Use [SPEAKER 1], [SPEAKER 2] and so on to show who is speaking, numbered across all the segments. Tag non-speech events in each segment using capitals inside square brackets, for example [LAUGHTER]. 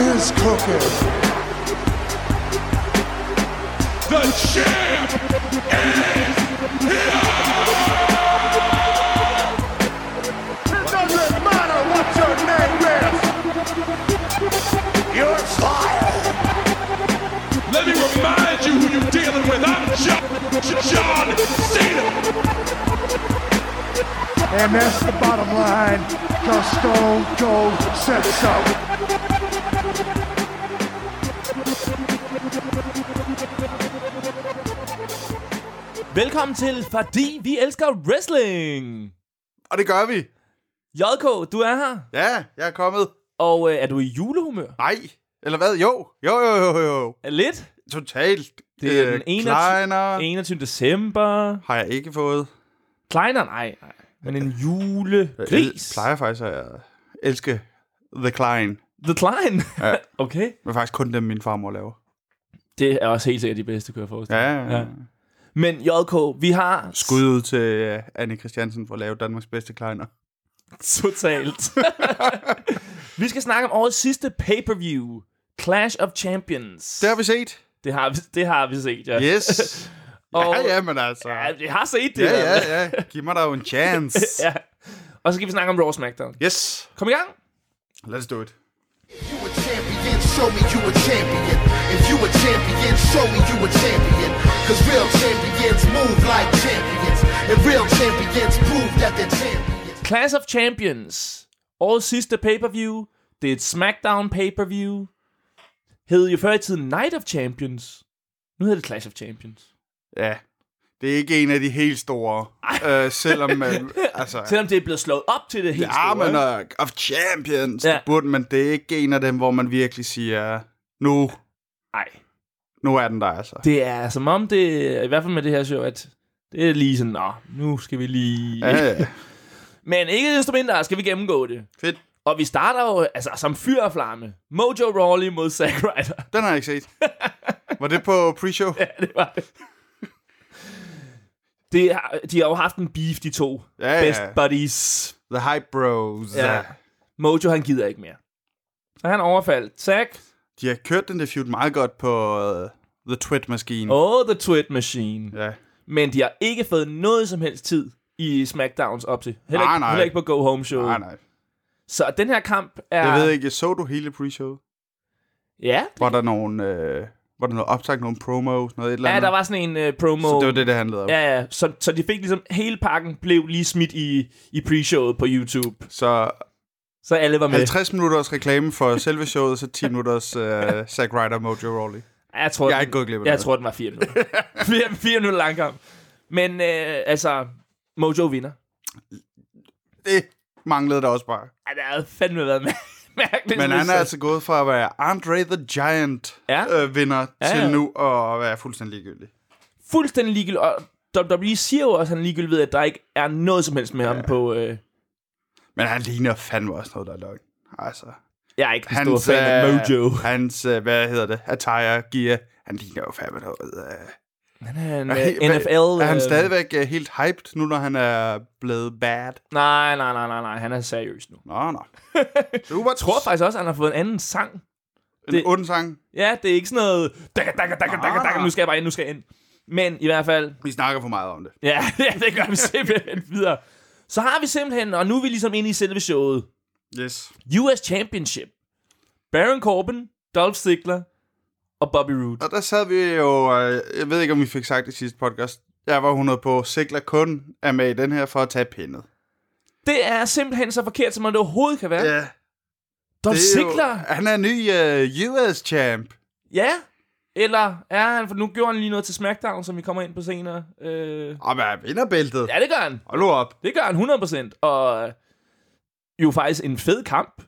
[SPEAKER 1] Hooker.
[SPEAKER 2] The champ is here!
[SPEAKER 3] It doesn't matter what your name is. You're fired.
[SPEAKER 2] Let me remind you who you're dealing with. I'm John, John Cena.
[SPEAKER 3] And that's the bottom line, because Stone Cold said so.
[SPEAKER 4] Velkommen til Fordi vi elsker wrestling.
[SPEAKER 1] Og det gør vi.
[SPEAKER 4] JK, du er her.
[SPEAKER 1] Ja, jeg er kommet.
[SPEAKER 4] Og øh, er du i julehumør?
[SPEAKER 1] Nej. Eller hvad? Jo. Jo, jo, jo, jo.
[SPEAKER 4] Lidt?
[SPEAKER 1] Totalt.
[SPEAKER 4] Det er øh, den 21, Kleiner. 21. december.
[SPEAKER 1] Har jeg ikke fået.
[SPEAKER 4] Kleiner? Nej, nej. Men en julegris.
[SPEAKER 1] Jeg plejer faktisk at elske The Klein.
[SPEAKER 4] The Klein? Ja. [LAUGHS] okay.
[SPEAKER 1] Men faktisk kun dem, min farmor laver.
[SPEAKER 4] Det er også helt sikkert de bedste, kunne jeg forestille
[SPEAKER 1] ja, ja, ja.
[SPEAKER 4] Men JK, vi har...
[SPEAKER 1] Skud ud til uh, Anne Christiansen for at lave Danmarks bedste kleiner.
[SPEAKER 4] [LAUGHS] Totalt. [LAUGHS] vi skal snakke om årets sidste pay-per-view. Clash of Champions.
[SPEAKER 1] Det har vi set.
[SPEAKER 4] Det har vi, det har vi set, ja. [LAUGHS]
[SPEAKER 1] Yes. og, ja, ja, men altså.
[SPEAKER 4] Ja, jeg har set det.
[SPEAKER 1] Ja, ja, ja. Giv mig da en chance.
[SPEAKER 4] [LAUGHS] ja. Og så skal vi snakke om Raw SmackDown.
[SPEAKER 1] Yes.
[SPEAKER 4] Kom i gang.
[SPEAKER 1] Let's do it.
[SPEAKER 5] You a champion, show me you a champion. If you a champion, show me you a champion. Cause real champions move like champions. And real champions prove that they're champions.
[SPEAKER 4] Class of Champions. Årets sidste pay-per-view. Det er et SmackDown pay-per-view. Hed jo før i tiden Night of Champions. Nu hedder det Clash of Champions.
[SPEAKER 1] Ja, det er ikke en af de helt store. Øh, uh, selvom,
[SPEAKER 4] [LAUGHS]
[SPEAKER 1] øh, uh, altså,
[SPEAKER 4] selvom det er blevet slået op til det helt
[SPEAKER 1] ja,
[SPEAKER 4] store.
[SPEAKER 1] Men, uh, of Champions, ja. burde, men det er ikke en af dem, hvor man virkelig siger, nu,
[SPEAKER 4] Nej.
[SPEAKER 1] nu er den der altså.
[SPEAKER 4] Det er som om det, i hvert fald med det her show, at det er lige sådan, nå, nu skal vi lige...
[SPEAKER 1] Ja, ja.
[SPEAKER 4] men ikke desto mindre skal vi gennemgå det.
[SPEAKER 1] Fedt.
[SPEAKER 4] Og vi starter jo altså, som fyr og flamme. Mojo Rawley mod Zack Ryder. [LAUGHS]
[SPEAKER 1] Den har jeg ikke set. Var det på pre-show?
[SPEAKER 4] ja, det var [LAUGHS] det det, har, de har jo haft en beef, de to.
[SPEAKER 1] Ja, ja.
[SPEAKER 4] Best buddies.
[SPEAKER 1] The hype bros. Ja.
[SPEAKER 4] Mojo, han gider ikke mere. Så han overfaldt Zack.
[SPEAKER 1] De har kørt den der feud meget godt på uh, The Twit Machine.
[SPEAKER 4] Oh, The Twit Machine.
[SPEAKER 1] Ja.
[SPEAKER 4] Men de har ikke fået noget som helst tid i SmackDowns op til. Heller, nej, ikke, nej. heller ikke på Go Home Show.
[SPEAKER 1] Nej, nej.
[SPEAKER 4] Så den her kamp er...
[SPEAKER 1] Jeg ved ikke, så du hele pre-show?
[SPEAKER 4] Ja.
[SPEAKER 1] Var det... der nogle... Øh var der noget optagt, nogle promos, noget et eller
[SPEAKER 4] ja,
[SPEAKER 1] andet?
[SPEAKER 4] Ja, der var sådan en uh, promo.
[SPEAKER 1] Så det var det, det handlede om?
[SPEAKER 4] Ja, ja. Så, så de fik ligesom, hele pakken blev lige smidt i, i pre-showet på YouTube.
[SPEAKER 1] Så...
[SPEAKER 4] Så alle var med.
[SPEAKER 1] 50 minutters reklame for selve showet, så 10 minutters uh, Zack Ryder Mojo Rawley.
[SPEAKER 4] Jeg, tror,
[SPEAKER 1] jeg er ikke gået glip af
[SPEAKER 4] Jeg noget. tror, den var
[SPEAKER 1] [LAUGHS]
[SPEAKER 4] 4 minutter. 4, 4 minutter lang kamp. Men uh, altså, Mojo vinder.
[SPEAKER 1] Det manglede der også bare.
[SPEAKER 4] Ja, det havde fandme været med [LAUGHS] mærkeligt.
[SPEAKER 1] Men han er altså gået fra at være Andre the Giant-vinder ja. øh, vinder ja, ja. til nu at være fuldstændig ligegyldig.
[SPEAKER 4] Fuldstændig ligegyldig. Og WWE siger jo også, at han ligegyldig ved, at der ikke er noget som helst med ja. ham på... Øh...
[SPEAKER 1] Men han ligner fandme også noget, der er løgn. Altså...
[SPEAKER 4] Jeg er ikke hans, stor fan
[SPEAKER 1] øh,
[SPEAKER 4] af Mojo.
[SPEAKER 1] Hans, øh, hvad hedder det, attire, gear, han ligner jo fandme noget... Øh...
[SPEAKER 4] Han er
[SPEAKER 1] [LAUGHS]
[SPEAKER 4] en uh, NFL... Er
[SPEAKER 1] han øh... stadigvæk uh, helt hyped nu, når han er blevet bad?
[SPEAKER 4] Nej, nej, nej, nej, nej. Han er seriøs nu.
[SPEAKER 1] Nå, [LAUGHS] nå.
[SPEAKER 4] Super. Jeg tror faktisk også, at han har fået en anden sang.
[SPEAKER 1] En det... ond sang?
[SPEAKER 4] Ja, det er ikke sådan noget... Dakka, dakka, dakka, dakka, dakka, nu skal jeg bare ind, nu skal jeg ind. Men i hvert fald... [LAUGHS]
[SPEAKER 1] Vi snakker for meget om det.
[SPEAKER 4] ja, ja det gør vi simpelthen [LAUGHS] videre. Så har vi simpelthen, og nu er vi ligesom inde i selve showet.
[SPEAKER 1] Yes.
[SPEAKER 4] US Championship. Baron Corbin, Dolph Ziggler, og Bobby Roode.
[SPEAKER 1] Og der sad vi jo, øh, jeg ved ikke, om vi fik sagt det i sidste podcast, jeg var 100 på, Sigler kun er med i den her for at tage pindet.
[SPEAKER 4] Det er simpelthen så forkert, som man det overhovedet kan være.
[SPEAKER 1] Ja.
[SPEAKER 4] Dolph Ziggler.
[SPEAKER 1] Han er ny uh, US champ.
[SPEAKER 4] Ja. Eller er han, for nu gjorde han lige noget til SmackDown, som vi kommer ind på senere. Øh...
[SPEAKER 1] Og hvad er vinderbæltet?
[SPEAKER 4] Ja, det gør han.
[SPEAKER 1] Hold nu op.
[SPEAKER 4] Det gør han 100%. Og øh, jo faktisk en fed kamp.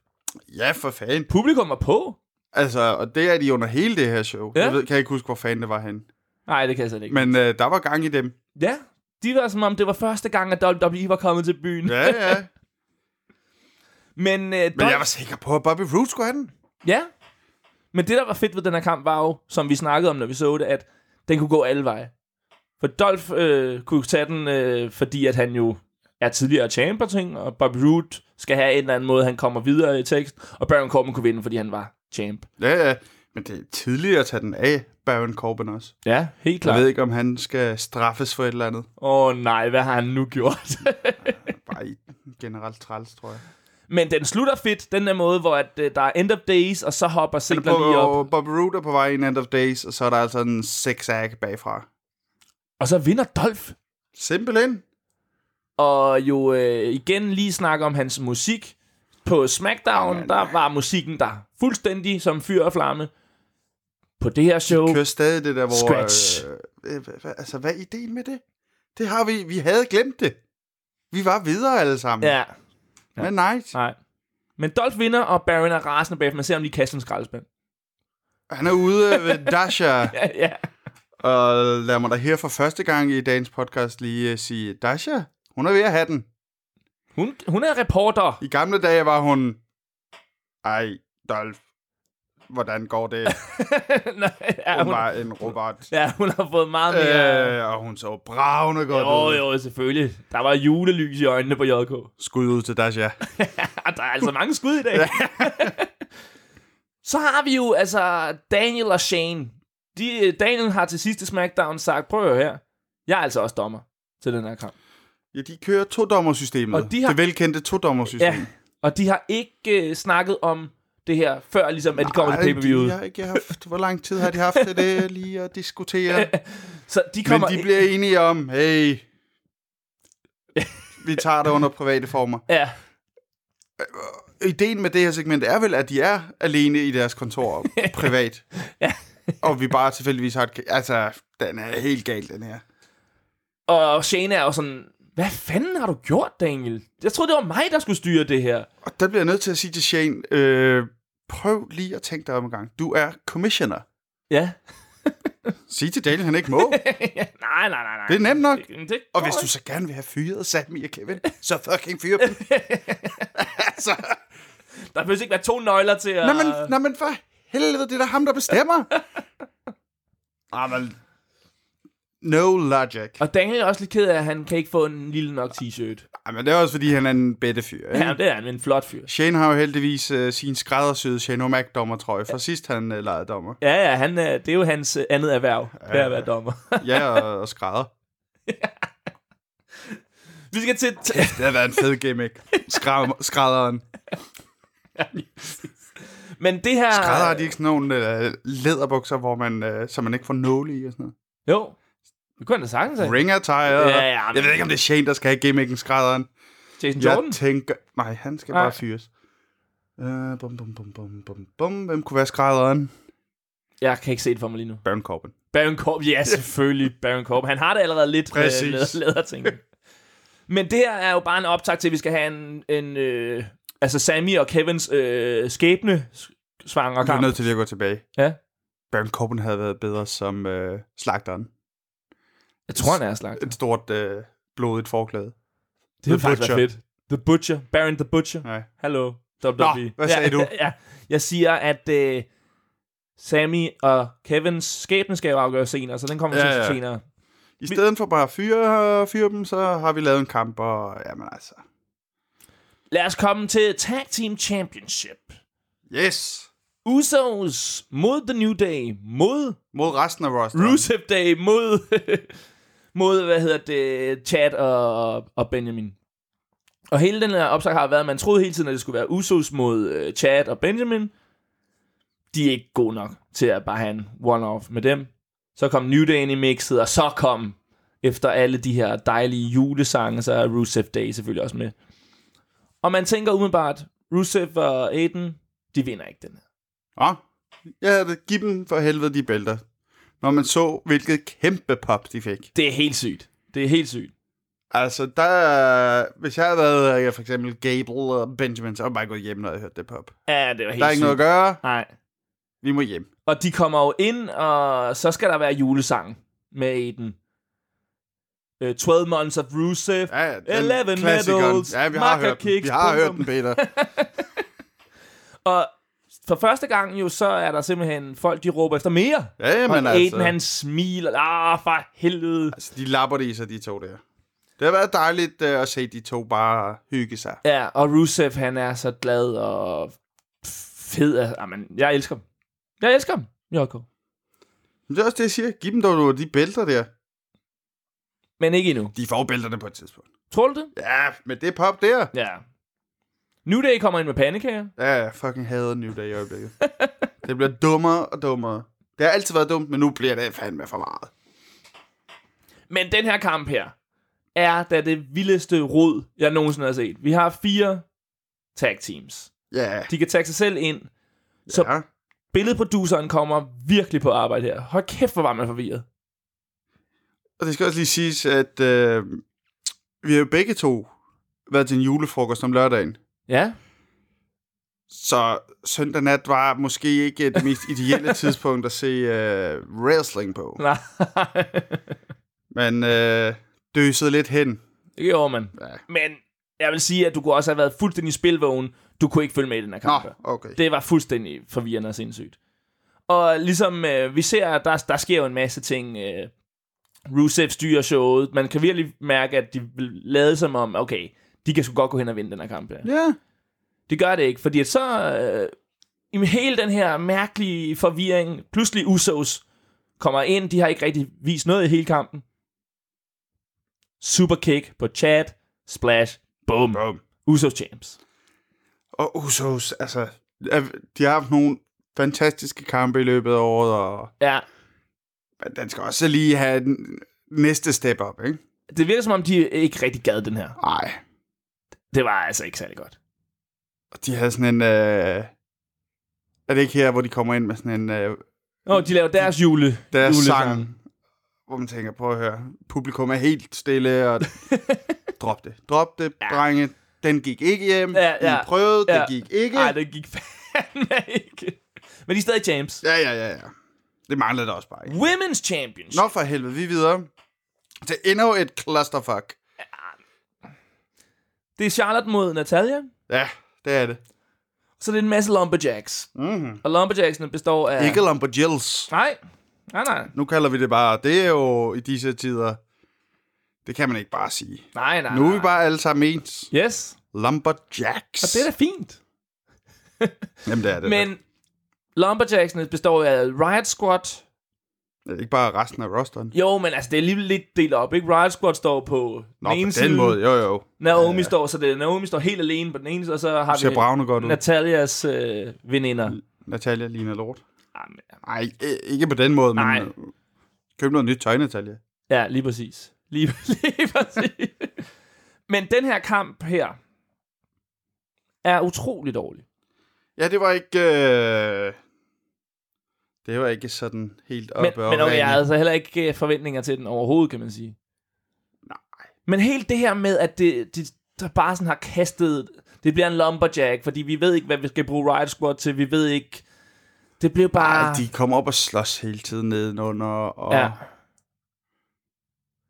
[SPEAKER 1] Ja, for fanden.
[SPEAKER 4] Publikum var på.
[SPEAKER 1] Altså, og det er de under hele det her show. Ja. Jeg ved, kan jeg ikke huske, hvor fanden det var han.
[SPEAKER 4] Nej, det kan jeg slet ikke.
[SPEAKER 1] Men øh, der var gang i dem.
[SPEAKER 4] Ja, de var som om, det var første gang, at WWE var kommet til byen.
[SPEAKER 1] Ja, ja.
[SPEAKER 4] men, øh, Men
[SPEAKER 1] Dolph... jeg var sikker på, at Bobby Roode skulle have den.
[SPEAKER 4] Ja, men det, der var fedt ved den her kamp, var jo, som vi snakkede om, når vi så det, at den kunne gå alle veje. For Dolph øh, kunne tage den, øh, fordi at han jo er tidligere champ og ting, og Bobby Roode skal have en eller anden måde, han kommer videre i tekst, og Baron Corbin kunne vinde, fordi han var champ.
[SPEAKER 1] Ja, ja. Men det er tidligere at tage den af, Baron Corbin også.
[SPEAKER 4] Ja, helt
[SPEAKER 1] Jeg
[SPEAKER 4] klart.
[SPEAKER 1] ved ikke, om han skal straffes for et eller andet.
[SPEAKER 4] Åh oh, nej, hvad har han nu gjort? [LAUGHS]
[SPEAKER 1] Bare i generelt træls, tror jeg.
[SPEAKER 4] Men den slutter fedt, den der måde, hvor at, øh, der er end of days, og så hopper
[SPEAKER 1] Det
[SPEAKER 4] Ziggler lige op.
[SPEAKER 1] på, Bob Root er på vej i en end of days, og så er der altså en zigzag bagfra.
[SPEAKER 4] Og så vinder Dolph.
[SPEAKER 1] Simpelthen.
[SPEAKER 4] Og jo øh, igen lige snakke om hans musik. På SmackDown,
[SPEAKER 1] Jamen.
[SPEAKER 4] der var musikken der fuldstændig som fyr og flamme. På det her show,
[SPEAKER 1] Kører stadig det der, hvor...
[SPEAKER 4] Scratch.
[SPEAKER 1] Øh, øh, hva- hva- altså, hvad er ideen med det? Det har vi... Vi havde glemt det. Vi var videre alle sammen.
[SPEAKER 4] ja,
[SPEAKER 1] Men nej,
[SPEAKER 4] nej. Men Dolph vinder, og Baron er rasende bagefter. Man ser om de kaster en skraldespand.
[SPEAKER 1] han er ude ved [LAUGHS] Dasha.
[SPEAKER 4] Ja, ja.
[SPEAKER 1] Og lad mig da her for første gang i dagens podcast lige øh, sige, Dasha, hun er ved at have den.
[SPEAKER 4] Hun, hun er reporter.
[SPEAKER 1] I gamle dage var hun... Ej, Dolph, hvordan går
[SPEAKER 4] [LAUGHS]
[SPEAKER 1] det?
[SPEAKER 4] [LAUGHS] Nej, ja,
[SPEAKER 1] Hun
[SPEAKER 4] hun,
[SPEAKER 1] var en robot.
[SPEAKER 4] ja, hun har fået meget mere... Øh,
[SPEAKER 1] Øh, og hun så bravende godt
[SPEAKER 4] jo,
[SPEAKER 1] ud.
[SPEAKER 4] jo, selvfølgelig. Der var julelys i øjnene på JK.
[SPEAKER 1] Skud ud til Dasha.
[SPEAKER 4] Ah, [LAUGHS] der er altså mange skud i dag. [LAUGHS] så har vi jo altså Daniel og Shane. De, øh, Daniel har til sidste SmackDown sagt, prøv at høre her, jeg er altså også dommer til den her kamp.
[SPEAKER 1] Ja, de kører todommersystemet.
[SPEAKER 4] Og de har-
[SPEAKER 1] Det velkendte todommersystem.
[SPEAKER 4] Ja, og de har ikke øh, snakket om det her, før ligesom, at de kommer til
[SPEAKER 1] Ej, de
[SPEAKER 4] pay-per-viewet.
[SPEAKER 1] har ikke haft, hvor lang tid har de haft til
[SPEAKER 4] [LAUGHS]
[SPEAKER 1] det lige at diskutere?
[SPEAKER 4] Så de
[SPEAKER 1] Men
[SPEAKER 4] kommer...
[SPEAKER 1] de bliver enige om, hey, vi tager det under private former.
[SPEAKER 4] Ja,
[SPEAKER 1] Ideen med det her segment er vel, at de er alene i deres kontor privat. Og vi bare tilfældigvis har et... Altså, den er helt gal, den her.
[SPEAKER 4] og Shane er jo sådan, hvad fanden har du gjort, Daniel? Jeg troede, det var mig, der skulle styre det her.
[SPEAKER 1] Og der bliver jeg nødt til at sige til Shane, øh, prøv lige at tænke dig om en gang. Du er commissioner. [LAUGHS]
[SPEAKER 4] Ja.
[SPEAKER 1] Sig til Daniel, han ikke må.
[SPEAKER 4] nej, nej, nej, nej.
[SPEAKER 1] Det er nemt nok.
[SPEAKER 4] Det, det
[SPEAKER 1] Og
[SPEAKER 4] går
[SPEAKER 1] hvis du
[SPEAKER 4] ikke.
[SPEAKER 1] så gerne vil have fyret Sammy og Kevin, så fucking fyr dem. altså,
[SPEAKER 4] Der behøver ikke være to nøgler til at...
[SPEAKER 1] nej, men, nej, men for helvede, det er da ham, der bestemmer. Jamen, no logic.
[SPEAKER 4] Og Daniel er også lidt ked af, at han kan ikke få en lille nok t-shirt.
[SPEAKER 1] Ej, Ah, men det er også, fordi han er en bedte fyr. Ikke?
[SPEAKER 4] Ja, det er han, men en flot fyr.
[SPEAKER 1] Shane har jo heldigvis øh, sin skræddersyede Shane O'Mac dommertrøje, fra sidst han øh, legede
[SPEAKER 4] [LAUGHS]
[SPEAKER 1] dommer.
[SPEAKER 4] Ja, ja, han er, det er jo hans øh, andet erhverv, ja. det er at være dommer. [LAUGHS]
[SPEAKER 1] Ja, og, og skrædder.
[SPEAKER 4] Vi skal til... T-
[SPEAKER 1] Det har været en fed gimmick. Skra- skrædderen.
[SPEAKER 4] [LAUGHS] men det her...
[SPEAKER 1] Skrædder har de ikke sådan nogle øh, læderbukser, hvor man, øh, så man ikke får nåle i og sådan noget.
[SPEAKER 4] Jo, det kunne han da sagtens have.
[SPEAKER 1] Ring attire.
[SPEAKER 4] Ja, ja, men-
[SPEAKER 1] Jeg ved ikke, om det er Shane, der skal have gimmicken skrædderen.
[SPEAKER 4] Jason
[SPEAKER 1] Jeg
[SPEAKER 4] Jordan.
[SPEAKER 1] tænker... Nej, han skal
[SPEAKER 4] Nej.
[SPEAKER 1] bare fyres. Uh, bum, bum, bum, bum, bum, bum. Hvem kunne være skrædderen?
[SPEAKER 4] Jeg kan ikke se det for mig lige nu.
[SPEAKER 1] Baron Corbin.
[SPEAKER 4] Baron Corbin, ja selvfølgelig, Baron Corbin. Han har det allerede lidt
[SPEAKER 1] Præcis.
[SPEAKER 4] med læder- læderting. Men det her er jo bare en optag til, at vi skal have en... en øh, altså Sammy og Kevins øh, skæbne svanger
[SPEAKER 1] Du er
[SPEAKER 4] kamp.
[SPEAKER 1] nødt til lige at gå tilbage.
[SPEAKER 4] Ja.
[SPEAKER 1] Baron Corbin havde været bedre som øh, slagteren.
[SPEAKER 4] Jeg tror, han er slagt.
[SPEAKER 1] Et stort øh, blodigt forklæde.
[SPEAKER 4] Det ville
[SPEAKER 1] The
[SPEAKER 4] faktisk være
[SPEAKER 1] Butcher.
[SPEAKER 4] fedt. The Butcher. Baron the Butcher.
[SPEAKER 1] Nej.
[SPEAKER 4] Hallo, WWE.
[SPEAKER 1] Nå, hvad sagde
[SPEAKER 4] ja,
[SPEAKER 1] du?
[SPEAKER 4] [LAUGHS] Ja, jeg siger, at øh, Sammy og Kevins skæbne skal jo afgøres senere, så den kommer
[SPEAKER 1] Ja,
[SPEAKER 4] ja, ja.
[SPEAKER 1] ja.
[SPEAKER 4] senere.
[SPEAKER 1] I stedet for bare at fyre, fyre dem, så har vi lavet en kamp, og jamen altså...
[SPEAKER 4] Lad os komme til Tag Team Championship.
[SPEAKER 1] Yes!
[SPEAKER 4] Usos mod The New Day, mod
[SPEAKER 1] Mod resten af rosteren.
[SPEAKER 4] Rusev Day, mod, [LAUGHS] mod hvad hedder det, Chad og, og Benjamin. Og hele den her opsag har været, at man troede hele tiden, at det skulle være Usos mod øh, Chad og Benjamin. De er ikke gode nok til at bare have en one-off med dem. Så kom New Day ind i mixet, og så kom, efter alle de her dejlige julesange, så er Rusev Day selvfølgelig også med. Og man tænker umiddelbart, Rusev og Aiden, de vinder ikke den her.
[SPEAKER 1] Nå, jeg havde giv dem for helvede de bælter. Når man så, hvilket kæmpe pop de fik.
[SPEAKER 4] Det er helt sygt. Det er helt sygt.
[SPEAKER 1] Altså, der, hvis jeg havde været øh, for eksempel Gable og Benjamin, så var jeg bare gået hjem, når jeg hørte det pop.
[SPEAKER 4] Ja, det var helt
[SPEAKER 1] Der er ikke
[SPEAKER 4] sygt.
[SPEAKER 1] noget at gøre.
[SPEAKER 4] Nej.
[SPEAKER 1] Vi må hjem.
[SPEAKER 4] Og de kommer jo ind, og så skal der være julesang med Aiden. Uh, 12 Months of Rusev.
[SPEAKER 1] Ja, ja, den
[SPEAKER 4] 11
[SPEAKER 1] klassikeren.
[SPEAKER 4] medals,
[SPEAKER 1] Ja, vi har
[SPEAKER 4] Maca
[SPEAKER 1] hørt den.
[SPEAKER 4] kicks,
[SPEAKER 1] Vi har hørt
[SPEAKER 4] punktum.
[SPEAKER 1] den, Peter.
[SPEAKER 4] Og for første gang jo, så er der simpelthen folk, de råber efter mere.
[SPEAKER 1] Ja,
[SPEAKER 4] og
[SPEAKER 1] men
[SPEAKER 4] Aiden,
[SPEAKER 1] altså.
[SPEAKER 4] han smiler. Ah, for helvede.
[SPEAKER 1] altså, de lapper det i sig, de to der. Det har været dejligt øh, at se de to bare hygge sig.
[SPEAKER 4] Ja, og Rusev, han er så glad og f- fed. Altså, jamen, jeg elsker dem. Jeg elsker dem, JK.
[SPEAKER 1] Men det er også det, jeg siger. Giv dem dog de bælter der.
[SPEAKER 4] Men ikke endnu.
[SPEAKER 1] De får jo bælterne på et tidspunkt.
[SPEAKER 4] Tror du det?
[SPEAKER 1] Ja, men det er pop der.
[SPEAKER 4] Ja. New Day kommer ind med pandekager.
[SPEAKER 1] Ja, jeg fucking hader New Day i [LAUGHS] øjeblikket. det bliver dummere og dummere. Det har altid været dumt, men nu bliver det fandme for meget.
[SPEAKER 4] Men den her kamp her er da det vildeste rod, jeg nogensinde har set. Vi har fire tag teams.
[SPEAKER 1] Ja,
[SPEAKER 4] De kan tagge sig selv ind. Så
[SPEAKER 1] ja.
[SPEAKER 4] billedproduceren kommer virkelig på arbejde her. Hold kæft, hvor var man forvirret.
[SPEAKER 1] Og det skal også lige siges, at øh, vi har jo begge to været til en julefrokost om lørdagen.
[SPEAKER 4] Ja,
[SPEAKER 1] Så søndag nat var måske ikke det mest [LAUGHS] ideelle tidspunkt at se øh, wrestling på.
[SPEAKER 4] [LAUGHS] nej.
[SPEAKER 1] Men øh, døsede lidt hen.
[SPEAKER 4] det gjorde man.
[SPEAKER 1] Ja.
[SPEAKER 4] Men jeg vil sige, at du kunne også have været fuldstændig spilvågen. Du kunne ikke følge med i den her kamp.
[SPEAKER 1] Nå,
[SPEAKER 4] her.
[SPEAKER 1] okay.
[SPEAKER 4] Det var fuldstændig forvirrende og sindssygt. Og ligesom øh, vi ser, at der, der sker jo en masse ting. Øh, Rusev styrer showet. Man kan virkelig mærke, at de vil lade som om, okay, de kan sgu godt gå hen og vinde den her kamp. Ja.
[SPEAKER 1] Ja,
[SPEAKER 4] Det gør det ikke, fordi at så... Øh, i hele den her mærkelige forvirring, pludselig Usos kommer ind, de har ikke rigtig vist noget i hele kampen. Superkick på Chad, splash, boom.
[SPEAKER 1] Bum.
[SPEAKER 4] Usos champs.
[SPEAKER 1] Og Usos, altså, er- de har haft nogle fantastiske kampe i løbet af året, og
[SPEAKER 4] Ja,
[SPEAKER 1] men den skal også lige have den næste step op, ikke?
[SPEAKER 4] det virker som om, de ikke rigtig gad den her.
[SPEAKER 1] Nej.
[SPEAKER 4] Det var altså ikke særlig godt.
[SPEAKER 1] Og de havde sådan en... Øh... Er det ikke her, hvor de kommer ind med sådan en... Øh,
[SPEAKER 4] Nå, de laver deres jule.
[SPEAKER 1] deres
[SPEAKER 4] julesang.
[SPEAKER 1] sang, hvor man tænker, prøv at høre, publikum er helt stille,
[SPEAKER 4] [LAUGHS]
[SPEAKER 1] og drop det. Drop det, ja. drenge. Den gik ikke hjem.
[SPEAKER 4] Ja,
[SPEAKER 1] I
[SPEAKER 4] ja.
[SPEAKER 1] prøvede, ja.
[SPEAKER 4] Ja.
[SPEAKER 1] den gik ikke.
[SPEAKER 4] Nej, det gik fandme ikke. Men de er stadig champs.
[SPEAKER 1] Ja, ja, ja, ja. Det manglede der også bare, ikke?
[SPEAKER 4] Women's Champions.
[SPEAKER 1] Nå for helvede, vi er videre. Til endnu et clusterfuck.
[SPEAKER 4] Det er Charlotte mod Natalia.
[SPEAKER 1] Ja, det er det.
[SPEAKER 4] Så det er en masse Lumberjacks. Mm-hmm. Og Lumberjacksene består af...
[SPEAKER 1] Mhm. Ikke Lumberjills.
[SPEAKER 4] Nej. Nej, nej.
[SPEAKER 1] Nu kalder vi det bare, det er jo i disse tider, det kan man ikke bare sige.
[SPEAKER 4] Nej, nej.
[SPEAKER 1] Nu er
[SPEAKER 4] nej.
[SPEAKER 1] vi bare alle sammen ens.
[SPEAKER 4] Yes.
[SPEAKER 1] Lumberjacks.
[SPEAKER 4] Og det er da fint.
[SPEAKER 1] Jamen, det er det.
[SPEAKER 4] Men Lumberjacksene består af Riot Squad.
[SPEAKER 1] da. Ikke bare resten af rosteren.
[SPEAKER 4] Jo, men altså, det er alligevel lidt delt op, ikke? Riot Squad står på
[SPEAKER 1] Nå, på
[SPEAKER 4] den ene
[SPEAKER 1] den
[SPEAKER 4] side.
[SPEAKER 1] måde, jo jo.
[SPEAKER 4] Naomi står, så det er Naomi står helt alene på den ene side, og så har
[SPEAKER 1] Ser
[SPEAKER 4] vi
[SPEAKER 1] bravende godt ud.
[SPEAKER 4] Natalias øh, veninder.
[SPEAKER 1] Natalia ligner lort.
[SPEAKER 4] Jamen,
[SPEAKER 1] Nej, øh, ikke på den måde, men
[SPEAKER 4] Nej.
[SPEAKER 1] øh, køb noget nyt tøj, Natalia.
[SPEAKER 4] Ja, lige præcis. Lige, [LAUGHS] lige præcis. men den her kamp her er utrolig dårlig.
[SPEAKER 1] Ja, det var ikke... Øh... Det var ikke sådan helt op
[SPEAKER 4] Men,
[SPEAKER 1] og
[SPEAKER 4] men okay, jeg
[SPEAKER 1] ringe.
[SPEAKER 4] havde altså heller ikke øh, forventninger til den overhovedet, kan man sige.
[SPEAKER 1] Nej.
[SPEAKER 4] Men helt det her med, at det, de, der bare sådan har kastet... Det bliver en lumberjack, fordi vi ved ikke, hvad vi skal bruge Riot Squad til. Vi ved ikke... Det blev bare...
[SPEAKER 1] Ej, de kom op og slås hele tiden nedenunder, og...
[SPEAKER 4] Ah. Ja.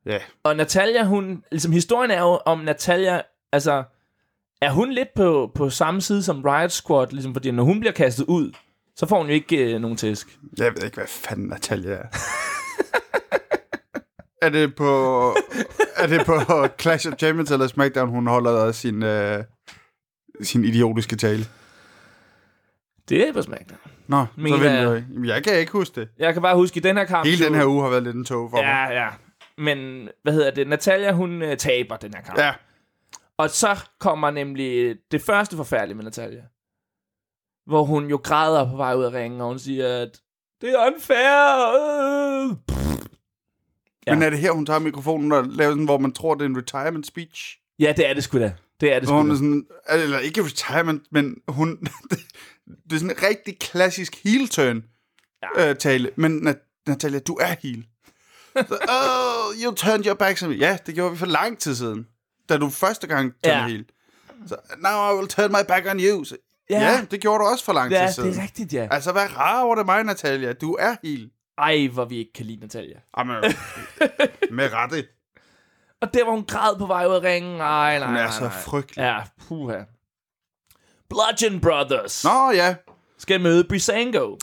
[SPEAKER 1] ja.
[SPEAKER 4] Og Natalia, hun... Ligesom historien er jo om Natalia... Altså, er hun lidt på, på samme side som Riot Squad? Ligesom, fordi når hun bliver kastet ud, så får hun jo ikke øh, nogen tæsk.
[SPEAKER 1] Jeg ved ikke, hvad fanden Natalia er. [LAUGHS] er det på... Er det på Clash of Champions eller SmackDown, hun holder sin, øh, sin idiotiske tale?
[SPEAKER 4] Det er på SmackDown.
[SPEAKER 1] Nå,
[SPEAKER 4] Mener
[SPEAKER 1] så venter
[SPEAKER 4] jeg.
[SPEAKER 1] jeg. Jamen, jeg kan ikke huske det.
[SPEAKER 4] Jeg kan bare huske, i den her kamp...
[SPEAKER 1] Hele den her
[SPEAKER 4] uge.
[SPEAKER 1] uge har været lidt en tog for mig.
[SPEAKER 4] Ja, ja. Men, hvad hedder det? Natalia, hun øh, taber den her kamp.
[SPEAKER 1] Ja.
[SPEAKER 4] Og så kommer nemlig øh, det første forfærdelige med Natalia. Hvor hun jo græder på vej ud af ringen, og hun siger, at det er unfair. øh." Ja.
[SPEAKER 1] Men er det her, hun tager mikrofonen og laver sådan, hvor man tror, det er en retirement speech?
[SPEAKER 4] Ja, det er det sgu da. Det er det
[SPEAKER 1] Hvor
[SPEAKER 4] sgu
[SPEAKER 1] hun er
[SPEAKER 4] da.
[SPEAKER 1] sådan, eller ikke retirement, men hun, [LAUGHS] det er sådan en rigtig klassisk heel turn ja. øh, tale. Men Nat- Natalia, du er heel.
[SPEAKER 4] [LAUGHS]
[SPEAKER 1] Så, oh, you turned your back to me. Ja, det gjorde vi for lang tid siden, da du første gang turnede
[SPEAKER 4] Ja.
[SPEAKER 1] ja. heel. Så, now I will turn my back on you. Så, ja. ja, det gjorde du også for lang
[SPEAKER 4] ja,
[SPEAKER 1] tid siden.
[SPEAKER 4] det er rigtigt, ja.
[SPEAKER 1] Altså, hvad rar over det mig, Natalia. Du er heel.
[SPEAKER 4] Ej, hvor vi ikke kan lide Natalia.
[SPEAKER 1] Jamen,
[SPEAKER 4] [LAUGHS]
[SPEAKER 1] med rette.
[SPEAKER 4] Og der, hvor hun græd på vej ud af ringen. Ej, nej,
[SPEAKER 1] Hun
[SPEAKER 4] nej,
[SPEAKER 1] er så
[SPEAKER 4] nej.
[SPEAKER 1] frygtelig.
[SPEAKER 4] Ja, puha. Bludgeon Brothers
[SPEAKER 1] Nå ja,
[SPEAKER 4] skal møde Brisango.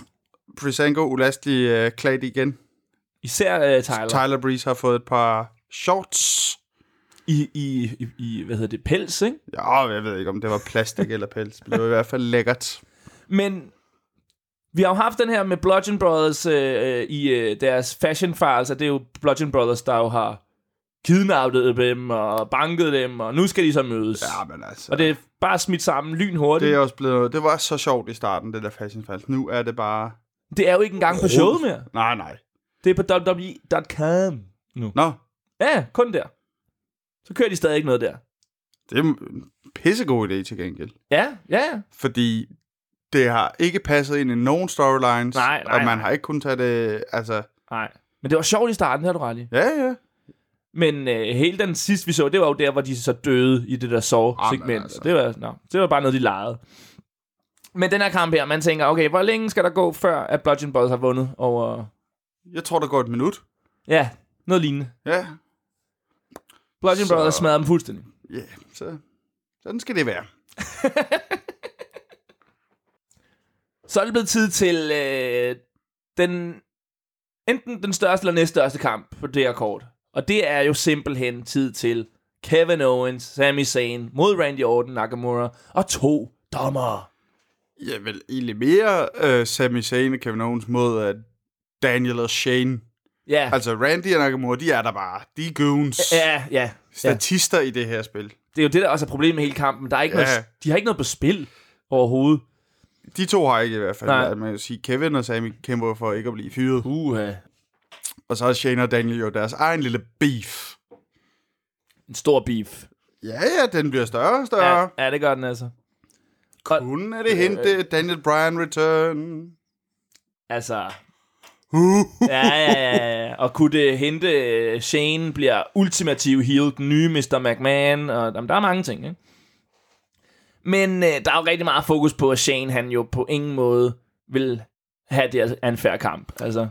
[SPEAKER 1] Prisango ulastelig øh, klædt igen.
[SPEAKER 4] Især uh, Tyler.
[SPEAKER 1] Tyler Breeze har fået et par shorts.
[SPEAKER 4] I, i, i, i, hvad hedder det, pels, ikke?
[SPEAKER 1] Ja, jeg ved ikke, om det var plastik eller pels. men Det var i hvert fald lækkert.
[SPEAKER 4] Men vi har jo haft den her med Bludgeon Brothers øh, øh, i øh, deres fashion files, og det er jo Bludgeon Brothers, der jo har kidnappet dem og banket dem, og nu skal de så mødes.
[SPEAKER 1] Ja, men altså.
[SPEAKER 4] Og det er bare smidt sammen lynhurtigt.
[SPEAKER 1] Det er
[SPEAKER 4] Det er,
[SPEAKER 1] også blevet... Det var så sjovt i starten, det der Fashion Fast. Nu er det bare...
[SPEAKER 4] det er jo ikke engang på showet mere.
[SPEAKER 1] Nej, nej.
[SPEAKER 4] Det er på E WWE.com nu.
[SPEAKER 1] Nå,
[SPEAKER 4] Ja, kun der. Så kører de stadig ikke noget der.
[SPEAKER 1] det er en pissegod idé til gengæld.
[SPEAKER 4] Ja, ja, ja.
[SPEAKER 1] Fordi det har ikke passet ind i nogen storylines.
[SPEAKER 4] Nej, nej,
[SPEAKER 1] Og man
[SPEAKER 4] nej.
[SPEAKER 1] har ikke kunnet tage det... Altså,
[SPEAKER 4] Nej. Men det var sjovt i starten, det har du ret i.
[SPEAKER 1] ja, ja.
[SPEAKER 4] Men øh, hele den sidste, vi så, det var jo der, hvor de så døde i det der
[SPEAKER 1] Ah, men
[SPEAKER 4] sove-segment.
[SPEAKER 1] altså.
[SPEAKER 4] Ah, det, var, no, det var bare noget, de legede. Men den her kamp her, man tænker, okay, hvor længe skal der gå, før at Bludgeon Brothers har vundet over...
[SPEAKER 1] Jeg tror, der går et minut.
[SPEAKER 4] Ja, noget lignende.
[SPEAKER 1] Ja,
[SPEAKER 4] Bludgeon
[SPEAKER 1] Så-
[SPEAKER 4] så... Brothers smadrer dem fuldstændig.
[SPEAKER 1] ja. Så, sådan skal det være.
[SPEAKER 4] Så er det blevet tid til øh, den enten den største eller næststørste kamp på det her kort. Og det er jo simpelthen tid til Kevin Owens, Sami Zayn mod Randy Orton, Nakamura og to dommere.
[SPEAKER 1] Ja, vel egentlig mere øh, Sami Zayn og Kevin Owens mod øh, Daniel og Shane.
[SPEAKER 4] Ja,
[SPEAKER 1] Altså, Randy og Nakamura, de er der bare. De er goons.
[SPEAKER 4] ja, ja. ja.
[SPEAKER 1] Statister i det her spil.
[SPEAKER 4] Det er jo det, der også er problemet med hele kampen. Der er ikke
[SPEAKER 1] Ja.
[SPEAKER 4] ja. noget, de har ikke noget på spil overhovedet.
[SPEAKER 1] De to har ikke i hvert fald
[SPEAKER 4] Nej.
[SPEAKER 1] været. Man kan sige, Kevin og Sami kæmper for ikke at blive fyret.
[SPEAKER 4] Uha.
[SPEAKER 1] Og så har Shane og Daniel jo deres egen lille beef.
[SPEAKER 4] En stor beef.
[SPEAKER 1] Ja, ja, den bliver større og større.
[SPEAKER 4] Ja, Øh,
[SPEAKER 1] Ja.
[SPEAKER 4] ja det gør den altså. Og,
[SPEAKER 1] Hun er det hente, Daniel Bryan return.
[SPEAKER 4] altså... ja, ja, ja, ja. Og kunne det hente, øh, Shane bliver ultimativ heel, den nye Mr. McMahon, og jamen, der er mange ting, ikke? Men øh, der er jo rigtig meget fokus på, at Shane, han jo på ingen måde vil have det her unfair kamp. Altså,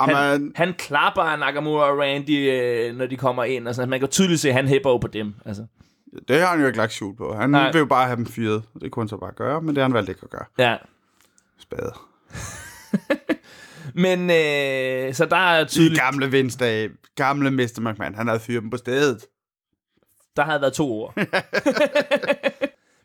[SPEAKER 4] han,
[SPEAKER 1] Amen,
[SPEAKER 4] han klapper af Nakamura og Randy, øh, når de kommer ind. Og sådan. Man kan tydeligt se, at han hæpper jo på dem. Altså.
[SPEAKER 1] det har han jo ikke lagt skjul på. Han Nej.
[SPEAKER 4] Nej.
[SPEAKER 1] vil jo bare have dem fyret. Det kunne han så bare gøre, men det har han valgt ikke at gøre.
[SPEAKER 4] Ja.
[SPEAKER 1] Spade.
[SPEAKER 4] Men øh, så der er
[SPEAKER 1] I
[SPEAKER 4] tydeligt,
[SPEAKER 1] gamle vindsdage, gamle Mr. McMahon, han havde fyret dem på stedet.
[SPEAKER 4] der havde været to ord. [LAUGHS]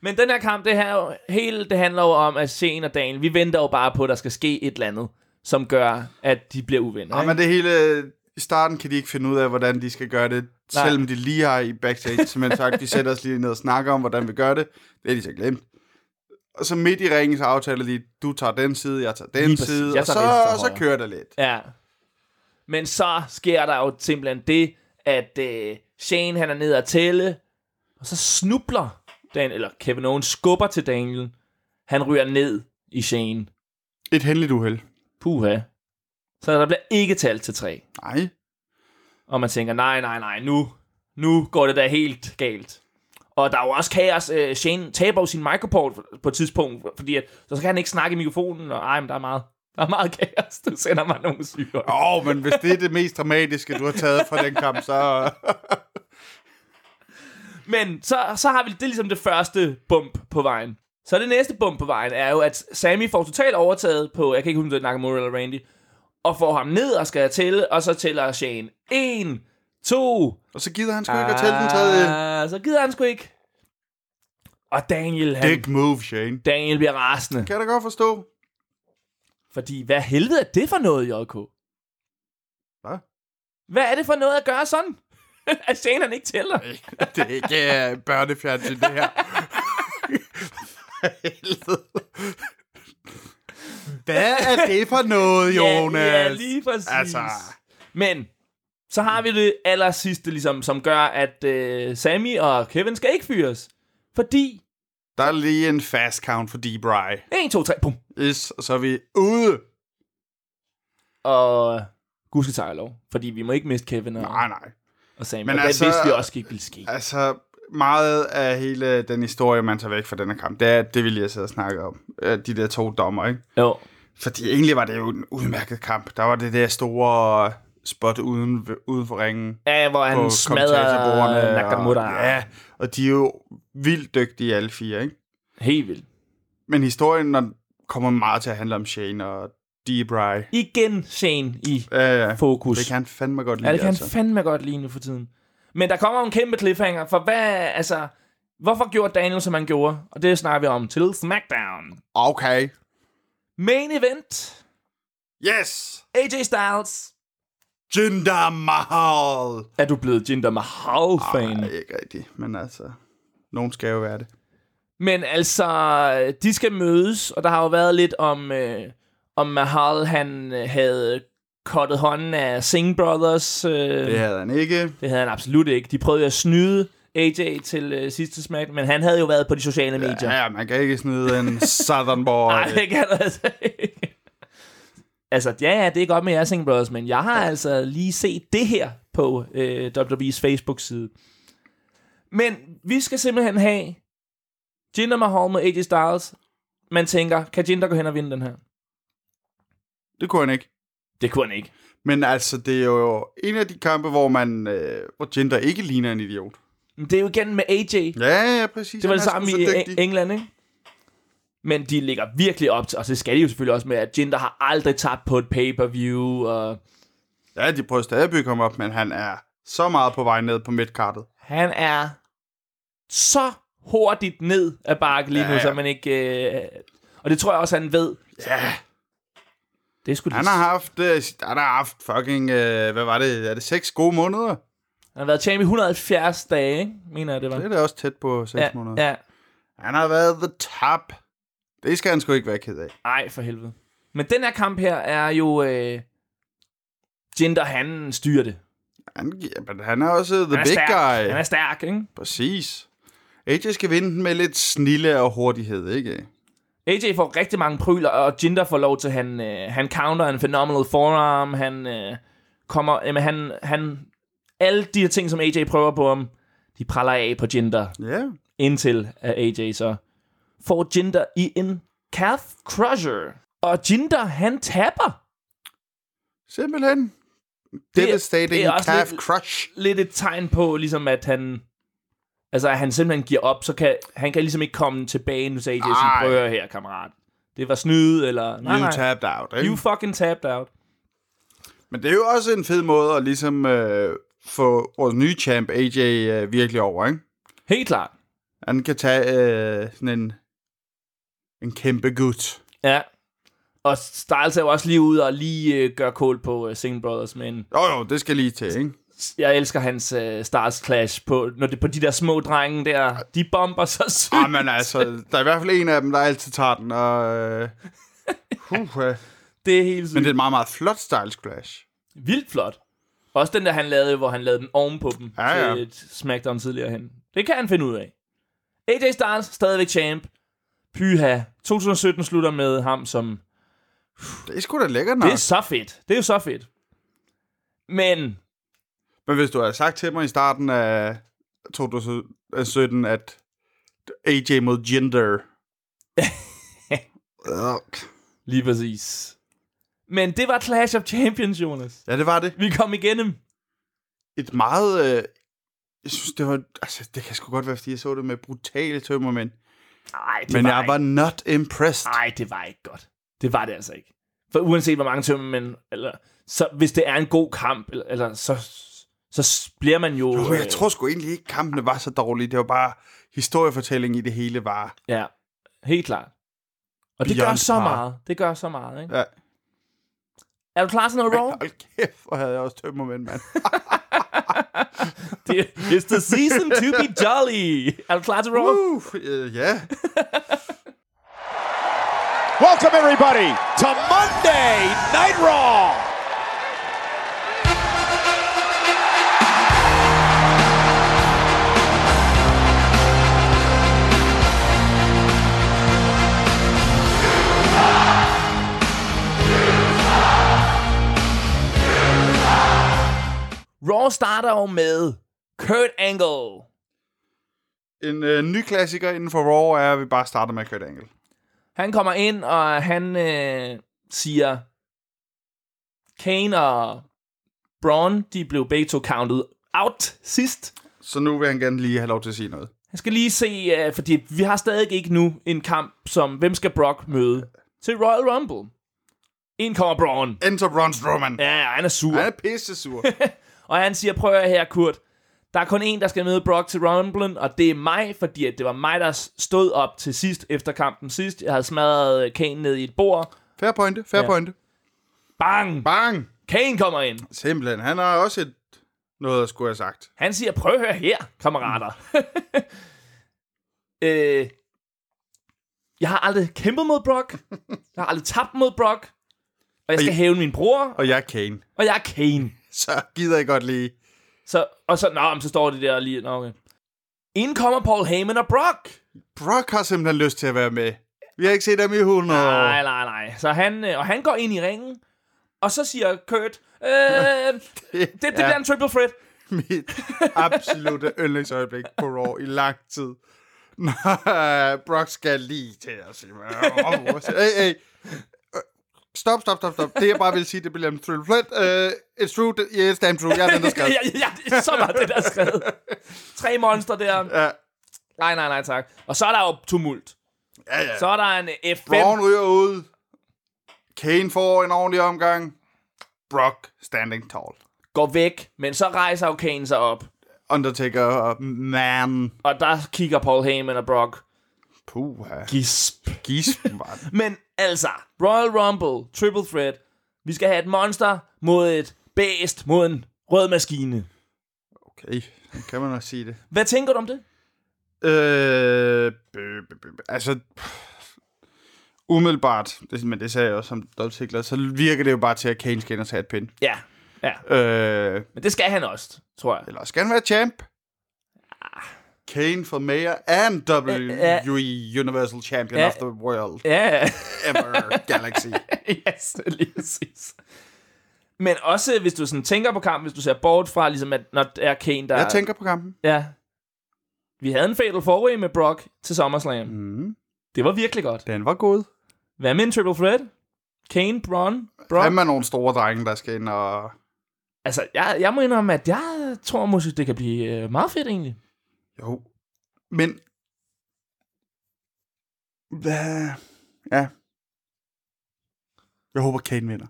[SPEAKER 4] Men den her kamp, det her jo- hele, det handler jo om, at Shane og Daniel, vi venter jo bare på, at der skal ske et eller andet, som gør, at de bliver uvenner.
[SPEAKER 1] Og
[SPEAKER 4] ikke?
[SPEAKER 1] men det hele... I starten kan de ikke finde ud af, hvordan de skal gøre det, Nej.
[SPEAKER 4] Nej.
[SPEAKER 1] selvom de lige har i backstage simpelthen sagt, vi sætter os lige ned og snakker om, hvordan vi gør det. Det er de så glemt. Og så midt i ringen, så aftaler de, du tager den side, jeg tager den
[SPEAKER 4] Lige præcis.
[SPEAKER 1] side,
[SPEAKER 4] Jeg
[SPEAKER 1] og så,
[SPEAKER 4] tager venstre og
[SPEAKER 1] så
[SPEAKER 4] højre.
[SPEAKER 1] kører det lidt.
[SPEAKER 4] Ja. Men så sker der jo simpelthen det, at øh, Shane han er nede at tælle, og så snubler Dan, eller Kevin Owens skubber til Daniel. Han ryger ned i Shane.
[SPEAKER 1] Et hændeligt uheld.
[SPEAKER 4] Puha. Så der bliver ikke talt til tre.
[SPEAKER 1] Nej.
[SPEAKER 4] Og man tænker, nej, nej, nej, nu, nu går det da helt galt. Og der er jo også kaos. Øh, Shane taber jo sin microport på et tidspunkt, fordi at, så kan han ikke snakke i mikrofonen, og ej, men der er meget, [LAUGHS] der er meget kaos. Du sender mig nogle syre.
[SPEAKER 1] Åh, oh, men hvis det er det mest dramatiske, du har taget fra den kamp, så...
[SPEAKER 4] Men så, så har vi det er ligesom det første bump på vejen. Så det næste bump på vejen er jo, at Sammy får totalt overtaget på, jeg kan ikke huske, om det er Nakamura eller Randy, og får ham ned og skal tælle, og så tæller Shane. En, to,
[SPEAKER 1] Og så gider han sgu ikke at tælle den tredje.
[SPEAKER 4] Ah, så gider han sgu ikke. Og Daniel, han,
[SPEAKER 1] Dick move, Shane.
[SPEAKER 4] Daniel bliver rasende.
[SPEAKER 1] Kan jeg da godt forstå.
[SPEAKER 4] Fordi, hvad helvede er det for noget, JK?
[SPEAKER 1] Hvad?
[SPEAKER 4] Hvad er det for noget at gøre sådan? [LAUGHS] at Shane han ikke tæller.
[SPEAKER 1] Det er ikke uh, børnefjernsyn, det her. For helvede. [LAUGHS] Hvad er det for noget, Jonas?
[SPEAKER 4] Ja, ja lige præcis.
[SPEAKER 1] Altså.
[SPEAKER 4] Men så har vi det aller sidste, ligesom, som gør, at øh, Sammy og Kevin skal ikke fyres. Fordi...
[SPEAKER 1] Der er lige en fast count for Deep Rye.
[SPEAKER 4] 1, 2, 3, pum.
[SPEAKER 1] Yes, og så er vi ude.
[SPEAKER 4] Og... Gud skal tage lov, fordi vi må ikke miste Kevin og,
[SPEAKER 1] Nej, nej.
[SPEAKER 4] og Sammy.
[SPEAKER 1] men
[SPEAKER 4] Men og
[SPEAKER 1] altså-
[SPEAKER 4] altså, det vidste vi også ikke ville ske.
[SPEAKER 1] Altså, meget af hele den historie, man tager væk fra den her kamp, det er det, vi lige har siddet og snakket om. Øh, De der to dommer, ikke?
[SPEAKER 4] Jo.
[SPEAKER 1] Fordi egentlig var det jo en udmærket kamp. Der var det der store spot uden, uden for ringen.
[SPEAKER 4] Ja, hvor
[SPEAKER 1] på
[SPEAKER 4] han
[SPEAKER 1] kommentatorbordet,
[SPEAKER 4] smadrer øh, Nakamura.
[SPEAKER 1] Og, ja, og de er jo vildt dygtige alle fire, ikke?
[SPEAKER 4] Helt vildt.
[SPEAKER 1] Men historien når, kommer meget til at handle om Shane og Debray.
[SPEAKER 4] Igen Shane i
[SPEAKER 1] Ja, ja.
[SPEAKER 4] fokus.
[SPEAKER 1] Det kan han fandme godt lide,
[SPEAKER 4] Ja, det kan han
[SPEAKER 1] altså.
[SPEAKER 4] fandme godt lige nu for tiden. Men der kommer jo en kæmpe cliffhanger, for hvad, altså, Hvorfor gjorde Daniel, som han gjorde? Og det snakker vi om til SmackDown.
[SPEAKER 1] Okay.
[SPEAKER 4] Main event.
[SPEAKER 1] Yes!
[SPEAKER 4] AJ Styles.
[SPEAKER 1] Jinder Mahal!
[SPEAKER 4] Er du blevet Jinder Mahal-fan?
[SPEAKER 1] Nej, ikke rigtigt, men altså... Nogen skal jo være det.
[SPEAKER 4] Men altså, de skal mødes, og der har jo været lidt om, øh, om Mahal, han øh, havde kottet hånden af Singh Brothers. Øh,
[SPEAKER 1] Det
[SPEAKER 4] yeah.
[SPEAKER 1] havde han ikke.
[SPEAKER 4] Det havde han absolut ikke. De prøvede at snyde AJ til øh, sidste smack, men han havde jo været på de sociale medier.
[SPEAKER 1] Ja, man kan ikke snide en Southern boy.
[SPEAKER 4] [LAUGHS] Nej, det kan du altså ikke. Altså, ja, ja, det er godt med jer, Singh Brothers, men jeg har altså lige set det her på øh, WWE's Facebook-side. Men vi skal simpelthen have Jinder Mahal mod AJ Styles. Man tænker, kan Jinder gå hen og vinde den her?
[SPEAKER 1] Det kunne han ikke.
[SPEAKER 4] Det kunne han ikke.
[SPEAKER 1] Men altså, det er jo en af de kampe, hvor man, øh, hvor Jinder ikke ligner en idiot.
[SPEAKER 4] Men det er jo igen med AJ.
[SPEAKER 1] Ja, ja, præcis.
[SPEAKER 4] Det var
[SPEAKER 1] Han
[SPEAKER 4] det
[SPEAKER 1] er
[SPEAKER 4] samme
[SPEAKER 1] sgu
[SPEAKER 4] i
[SPEAKER 1] Ligesom så
[SPEAKER 4] Eng-
[SPEAKER 1] dygtig.
[SPEAKER 4] England, ikke? Men de ligger virkelig op til, og så skal de jo selvfølgelig også med, at Jinder har aldrig tabt på et pay-per-view, og
[SPEAKER 1] Ja, de prøver stadig at bygge ham op, men han er så meget på vej ned på midtkartet.
[SPEAKER 4] han er så hurtigt ned af bakke lige nu, ja,
[SPEAKER 1] Ja,
[SPEAKER 4] ja.
[SPEAKER 1] ja.
[SPEAKER 4] så man ikke... Øh, og det tror jeg også, han ved.
[SPEAKER 1] Ja,
[SPEAKER 4] Det skulle
[SPEAKER 1] han har haft, øh, han har haft fucking, øh, hvad var det, er det seks gode måneder?
[SPEAKER 4] han har været champ i 170 dage, ikke? mener jeg, det var.
[SPEAKER 1] Det er da også tæt på seks
[SPEAKER 4] ja,
[SPEAKER 1] måneder.
[SPEAKER 4] ja.
[SPEAKER 1] Han har været the top. Det skal han sgu ikke være ked af.
[SPEAKER 4] Ej, for helvede. Men den her kamp her er jo... Øh, Jinder, han styrer det.
[SPEAKER 1] Han, gi- men han er også the
[SPEAKER 4] Han er
[SPEAKER 1] big
[SPEAKER 4] stærk.
[SPEAKER 1] guy.
[SPEAKER 4] Han er stærk, ikke?
[SPEAKER 1] Præcis. AJ skal vinde den med lidt snille og hurtighed, ikke?
[SPEAKER 4] AJ får rigtig mange pryler, og Jinder får lov til, han, øh, han counter en phenomenal forearm, han øh, kommer, jamen, han, han, alle de her ting, som AJ prøver på ham, de praller af på Jinder,
[SPEAKER 1] Ja.
[SPEAKER 4] indtil at AJ så får Jinder i en calf crusher. Og Jinder, han taber.
[SPEAKER 1] Simpelthen.
[SPEAKER 4] Det er-
[SPEAKER 1] Devastating
[SPEAKER 4] det er også
[SPEAKER 1] calf
[SPEAKER 4] lidt-
[SPEAKER 1] crush.
[SPEAKER 4] Lidt et tegn på, ligesom at han, altså at han simpelthen giver op, så kan, han kan ligesom ikke komme tilbage nu til AJ og sige,
[SPEAKER 1] Ej.
[SPEAKER 4] prøv at høre her, kammerat. Det var snyde, eller... Nej,
[SPEAKER 1] You
[SPEAKER 4] nej.
[SPEAKER 1] tapped out, ikke?
[SPEAKER 4] You fucking tapped out.
[SPEAKER 1] Men det er jo også en fed måde at ligesom øh, få vores nye champ, AJ, øh, virkelig over, ikke?
[SPEAKER 4] Helt klart.
[SPEAKER 1] Han kan tage øh, sådan en, en kæmpe gut.
[SPEAKER 4] Ja. Og Styles er jo også lige ude og lige øh, gøre kål på øh, Singh Brothers, men
[SPEAKER 1] Jo, jo, det skal lige til,
[SPEAKER 4] [LAUGHS]
[SPEAKER 1] ikke?
[SPEAKER 4] jeg elsker hans øh, Stars Clash på, når det, på de der små drenge der. De bomber så sygt.
[SPEAKER 1] Ah, men altså, der er i hvert fald en af dem, der altid tager den, og... Øh, huh, øh.
[SPEAKER 4] Det er helt sygt.
[SPEAKER 1] Men det
[SPEAKER 4] Det...
[SPEAKER 1] er en meget, meget flot Styles Clash.
[SPEAKER 4] Vildt flot. Også den der, han lavede, hvor han lavede den ovenpå dem
[SPEAKER 1] Ja, ja.
[SPEAKER 4] til et SmackDown tidligere hen. Det kan han finde ud af. AJ Styles, stadigvæk champ. Pyha. 2017 slutter med ham som
[SPEAKER 1] Det er sgu da lækkert nok.
[SPEAKER 4] Det er så fedt. Det er jo så fedt. Men
[SPEAKER 1] Men hvis du havde sagt til mig i starten af 2017, at AJ mod
[SPEAKER 4] [LAUGHS]
[SPEAKER 1] Jinder... Ugh.
[SPEAKER 4] Lige præcis. Men det var Clash of Champions, Jonas.
[SPEAKER 1] ja, det var det.
[SPEAKER 4] Vi kom igennem.
[SPEAKER 1] Et meget... Øh, jeg synes, det var... Altså, det kan sgu godt være, fordi jeg så det med brutale tømmermænd.
[SPEAKER 4] Nej, det
[SPEAKER 1] Men
[SPEAKER 4] var
[SPEAKER 1] jeg var
[SPEAKER 4] ikke.
[SPEAKER 1] not impressed.
[SPEAKER 4] Nej, det var ikke godt. Det var det altså ikke. For uanset hvor mange tømmermænd, eller så hvis det er en god kamp, eller, eller så så s- bliver man jo...
[SPEAKER 1] Men jeg
[SPEAKER 4] øh,
[SPEAKER 1] tror sgu egentlig ikke, kampene var så dårlige. Det var bare historiefortællingen i det hele var...
[SPEAKER 4] Ja, helt klart. Og det
[SPEAKER 1] Beyond
[SPEAKER 4] gør så
[SPEAKER 1] par.
[SPEAKER 4] meget. Det gør så meget, ikke?
[SPEAKER 1] Ja.
[SPEAKER 4] Er du klar til noget Raw?
[SPEAKER 1] Hold kæft, hvor havde jeg også tømmermænd, mand.
[SPEAKER 4] Det, it's the season to be jolly. Er du klar til Raw?
[SPEAKER 1] Uh, øh, ja.
[SPEAKER 6] Welcome, everybody, to Monday Night Raw.
[SPEAKER 4] Raw starter jo med Kurt Angle.
[SPEAKER 1] En øh, ny klassiker inden for Raw er, at vi bare starter med Kurt Angle.
[SPEAKER 4] Han kommer ind, og han øh, siger, Kane og Braun, de blev begge to counted out sidst.
[SPEAKER 1] Så nu vil han gerne lige have lov til at sige noget.
[SPEAKER 4] Jeg skal lige se, øh, fordi vi har stadig ikke nu en kamp som, hvem skal Brock møde til Royal Rumble? Ind kommer Braun.
[SPEAKER 1] Enter Braun Strowman. Ja.
[SPEAKER 4] Ja, han er sur.
[SPEAKER 1] Han er pisse sur.
[SPEAKER 4] Og han siger, prøv at høre her, Kurt. Der er kun en, der skal møde Brock til Rumblen, og det er mig, fordi at det var mig, der stod op til sidst efter kampen sidst. Jeg havde smadret øh, Kane ned i et bord.
[SPEAKER 1] Fair pointe, fair
[SPEAKER 4] Ja.
[SPEAKER 1] ja. pointe.
[SPEAKER 4] Bang!
[SPEAKER 1] Bang!
[SPEAKER 4] Kane kommer ind.
[SPEAKER 1] Simpelthen, han har også et, noget at skulle have sagt.
[SPEAKER 4] Han siger, prøv at høre her, kammerater. [LAUGHS] øh, jeg har aldrig kæmpet mod Brock. Jeg har aldrig tabt mod Brock. Og jeg skal
[SPEAKER 1] I-
[SPEAKER 4] hæve min bror,
[SPEAKER 1] Og jeg er Kane.
[SPEAKER 4] og jeg er Kane.
[SPEAKER 1] Så gider jeg godt lige.
[SPEAKER 4] Så, og så, nå, men så står det der lige, nå, okay. Inden kommer Paul Heyman og Brock.
[SPEAKER 1] Brock har simpelthen lyst til at være med. Vi har ikke set ham i 100 år. [LAUGHS]
[SPEAKER 4] Nej, nej, nej. Så han, øh, og han går ind i ringen, og så siger Kurt, øh, det, det, det
[SPEAKER 1] er-
[SPEAKER 4] bliver en triple threat.
[SPEAKER 1] mit
[SPEAKER 4] [LAUGHS]
[SPEAKER 1] absolute yndlingsøjeblik på Raw i lang tid. [LAUGHS] Når øh, Brock skal lige til at sige... Hey, hey. Stop, stop, stop, stop. Det jeg bare vil sige, det bliver en thrill flat. Uh, it's true, that- yeah, it's damn true. Jeg er den, der skal.
[SPEAKER 4] [LAUGHS] ja, ja, det er så meget det, der er skrevet. Tre monster der.
[SPEAKER 1] Ja.
[SPEAKER 4] Nej, nej, nej, tak. Og så er der jo tumult.
[SPEAKER 1] Ja, ja.
[SPEAKER 4] Så er der en eh, F5.
[SPEAKER 1] Braun ryger ud. Kane får en ordentlig omgang. Brock standing tall.
[SPEAKER 4] Går væk, men så rejser jo Kane sig op.
[SPEAKER 1] Undertaker, og man.
[SPEAKER 4] Og der kigger Paul Heyman og Brock.
[SPEAKER 1] Puha.
[SPEAKER 4] Gisp.
[SPEAKER 1] Gisp, [LAUGHS] mand.
[SPEAKER 4] Men altså, Royal Rumble, Triple Threat. Vi skal have et monster mod et bæst mod en rød maskine.
[SPEAKER 1] Okay, kan man også sige det.
[SPEAKER 4] Hvad tænker du om det?
[SPEAKER 1] Øh, bø, bø, bø, bø. altså, pff, umiddelbart, det, men det sagde jeg også som dobbeltsikler, så virker det jo bare til, at Kane skal ind og tage et pind.
[SPEAKER 4] Ja, ja.
[SPEAKER 1] Øh,
[SPEAKER 4] Men det skal han også, tror jeg.
[SPEAKER 1] eller skal han være champ? Kane for mayor and
[SPEAKER 4] Ja,
[SPEAKER 1] WWE Universal Champion
[SPEAKER 4] Ja.
[SPEAKER 1] of the World
[SPEAKER 4] Ja, [LAUGHS]
[SPEAKER 1] ever [LAUGHS] galaxy.
[SPEAKER 4] yes, lige præcis. Men også, hvis du sådan tænker på kampen, hvis du ser bort fra, ligesom at når det er Kane, der...
[SPEAKER 1] Jeg tænker på kampen.
[SPEAKER 4] Ja. Vi havde en fatal forway med Brock til SummerSlam. Mm. Det var virkelig godt.
[SPEAKER 1] Den var god.
[SPEAKER 4] Hvad med en triple threat? Kane, Braun, Brock?
[SPEAKER 1] Han er nogle store drenge, der skal ind og...
[SPEAKER 4] Altså, jeg, jeg må indrømme, at jeg tror måske, det kan blive øh, meget fedt egentlig.
[SPEAKER 1] Jo. Men... Hvad... Ja. Jeg håber, Kane vinder.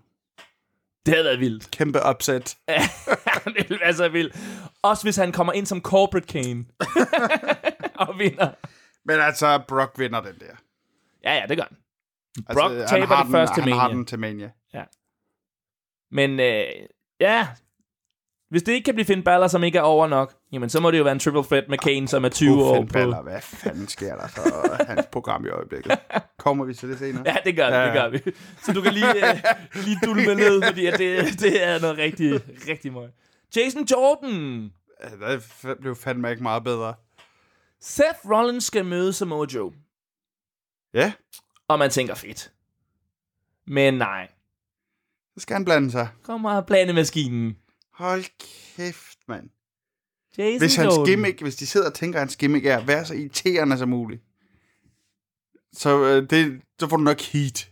[SPEAKER 4] Det havde været [LAUGHS] vildt.
[SPEAKER 1] Kæmpe upset.
[SPEAKER 4] det ville være så vildt. Også hvis han kommer ind som corporate Kane. [LAUGHS] og vinder.
[SPEAKER 1] Men altså, Brock vinder den der.
[SPEAKER 4] Ja, ja, det gør han.
[SPEAKER 1] Altså,
[SPEAKER 4] Brock
[SPEAKER 1] han
[SPEAKER 4] taber
[SPEAKER 1] har
[SPEAKER 4] det
[SPEAKER 1] den,
[SPEAKER 4] første
[SPEAKER 1] Han har
[SPEAKER 4] Mania.
[SPEAKER 1] den til Mania.
[SPEAKER 4] Men øh, ja, hvis det ikke kan blive Finn Balor, som ikke er over nok, jamen så må det jo være en triple threat med Kane, som er 20
[SPEAKER 1] Uffe
[SPEAKER 4] år på...
[SPEAKER 1] Baller, hvad fanden sker der
[SPEAKER 4] [LAUGHS]
[SPEAKER 1] for hans program i øjeblikket? Kommer vi til det senere?
[SPEAKER 4] Ja, det gør vi,
[SPEAKER 1] Ja,
[SPEAKER 4] det
[SPEAKER 1] ja.
[SPEAKER 4] gør vi. Så du kan lige, øh, lige dulme ned, fordi at det, det er noget rigtig, rigtig møg. Jason Jordan.
[SPEAKER 1] Ja, det f- blev fandme ikke meget bedre.
[SPEAKER 4] Seth Rollins skal møde Samoa Joe.
[SPEAKER 1] Ja,
[SPEAKER 4] Og man tænker, fedt. Men nej.
[SPEAKER 1] så skal han blande sig.
[SPEAKER 4] Kom og blande maskinen.
[SPEAKER 1] Hold kæft, mand.
[SPEAKER 4] Jason
[SPEAKER 1] Hvis hans
[SPEAKER 4] Jordan.
[SPEAKER 1] gimmick, hvis de sidder og tænker, at hans gimmick er at være så irriterende som muligt, så, øh, det, så får du nok heat.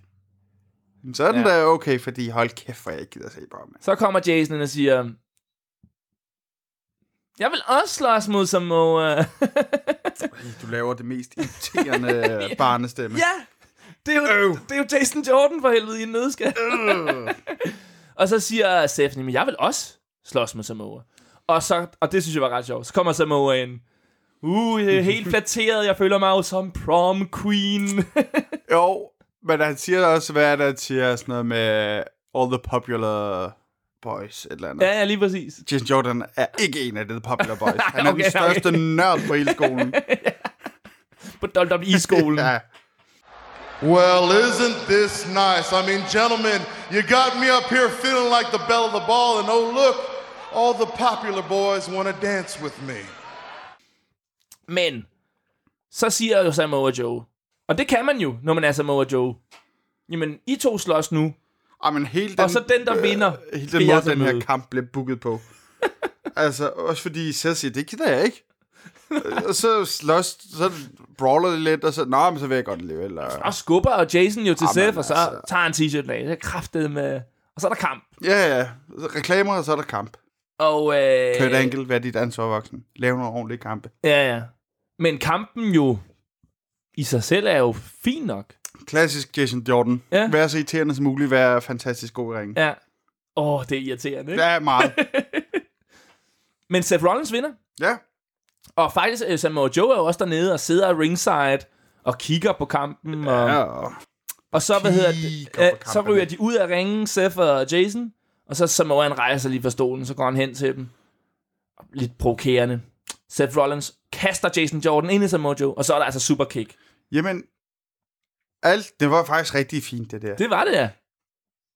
[SPEAKER 1] Men så er den
[SPEAKER 4] Ja.
[SPEAKER 1] ja. da okay, fordi hold kæft, hvor jeg ikke gider se på ham. mand.
[SPEAKER 4] Så kommer Jason ind og siger, jeg vil også slås mod Samoa.
[SPEAKER 1] Du laver det mest irriterende øh, barnestemme.
[SPEAKER 4] ja, det er, jo, det er jo Jason Jordan for helvede i en nødskal. [LAUGHS] og så siger Seth, men jeg vil også slås med Samoa. Og, så, og det synes jeg var ret sjovt. Så kommer Samoa ind. Uh, jeg er helt flatteret. Jeg føler mig jo som prom queen.
[SPEAKER 1] Jo, men han siger også, hvad er det, han siger sådan noget med all the popular boys, et eller andet.
[SPEAKER 4] ja, ja, lige præcis.
[SPEAKER 1] Jason Jordan er ikke en af de popular boys. Han er
[SPEAKER 4] Okay,
[SPEAKER 1] okay, den
[SPEAKER 4] okay.
[SPEAKER 1] største nørd på hele skolen.
[SPEAKER 4] På WWE-skolen.
[SPEAKER 1] [LAUGHS] ja.
[SPEAKER 7] [LAUGHS] Well, isn't this nice? I mean, gentlemen, you got me up here feeling like the belle of the ball, and oh, look, all the popular boys want to dance with me.
[SPEAKER 4] Men så siger jo Samoa Joe, og det kan man jo, når man er Samoa Joe. Jamen, I to slås nu,
[SPEAKER 1] Ej, men hele den,
[SPEAKER 4] og så den, der vinder,
[SPEAKER 1] øh, hele
[SPEAKER 4] skal
[SPEAKER 1] den
[SPEAKER 4] jeg
[SPEAKER 1] måde,
[SPEAKER 4] så
[SPEAKER 1] den her
[SPEAKER 4] møde.
[SPEAKER 1] kamp blev booket
[SPEAKER 4] [LAUGHS]
[SPEAKER 1] på. altså, også fordi Seth siger, det gider jeg ikke. Øh, og så slås, så brawler det lidt, og så, nå, men så vil jeg godt leve, eller...
[SPEAKER 4] Og skubber og Jason jo til
[SPEAKER 1] Jamen,
[SPEAKER 4] Seth, og så
[SPEAKER 1] altså.
[SPEAKER 4] tager han t-shirten af. Det er kraftet med... Og så er der kamp.
[SPEAKER 1] Ja, ja, reklamer, og så er der kamp.
[SPEAKER 4] Og, øh,
[SPEAKER 1] Kurt Angle, vær dit ansvar voksen. Lav nogle ordentlige kampe.
[SPEAKER 4] Ja, ja. Men kampen jo i sig selv er jo fin nok.
[SPEAKER 1] Klassisk Jason Jordan.
[SPEAKER 4] Ja.
[SPEAKER 1] Ja. Vær så irriterende som muligt, vær fantastisk god i ringen.
[SPEAKER 4] Ja. Åh, det er irriterende, ikke?
[SPEAKER 1] Ja. Det er meget.
[SPEAKER 4] Men Seth Rollins vinder.
[SPEAKER 1] Ja.
[SPEAKER 4] Og faktisk, øh, Samoa Joe er jo også dernede og sidder ringside og kigger på kampen. Og,
[SPEAKER 1] ja.
[SPEAKER 4] og så, hvad hedder det,
[SPEAKER 1] Kigger på
[SPEAKER 4] øh, så
[SPEAKER 1] kampen.
[SPEAKER 4] ryger de ud af ringen, Seth og Jason. Og så Samoa han rejser sig lige fra stolen, så går han hen til dem. Lidt provokerende. Seth Rollins kaster Jason Jordan ind i Samoa Joe, og så er der altså superkick.
[SPEAKER 1] Jamen, alt, det var faktisk rigtig fint, det der.
[SPEAKER 4] Det var det, ja.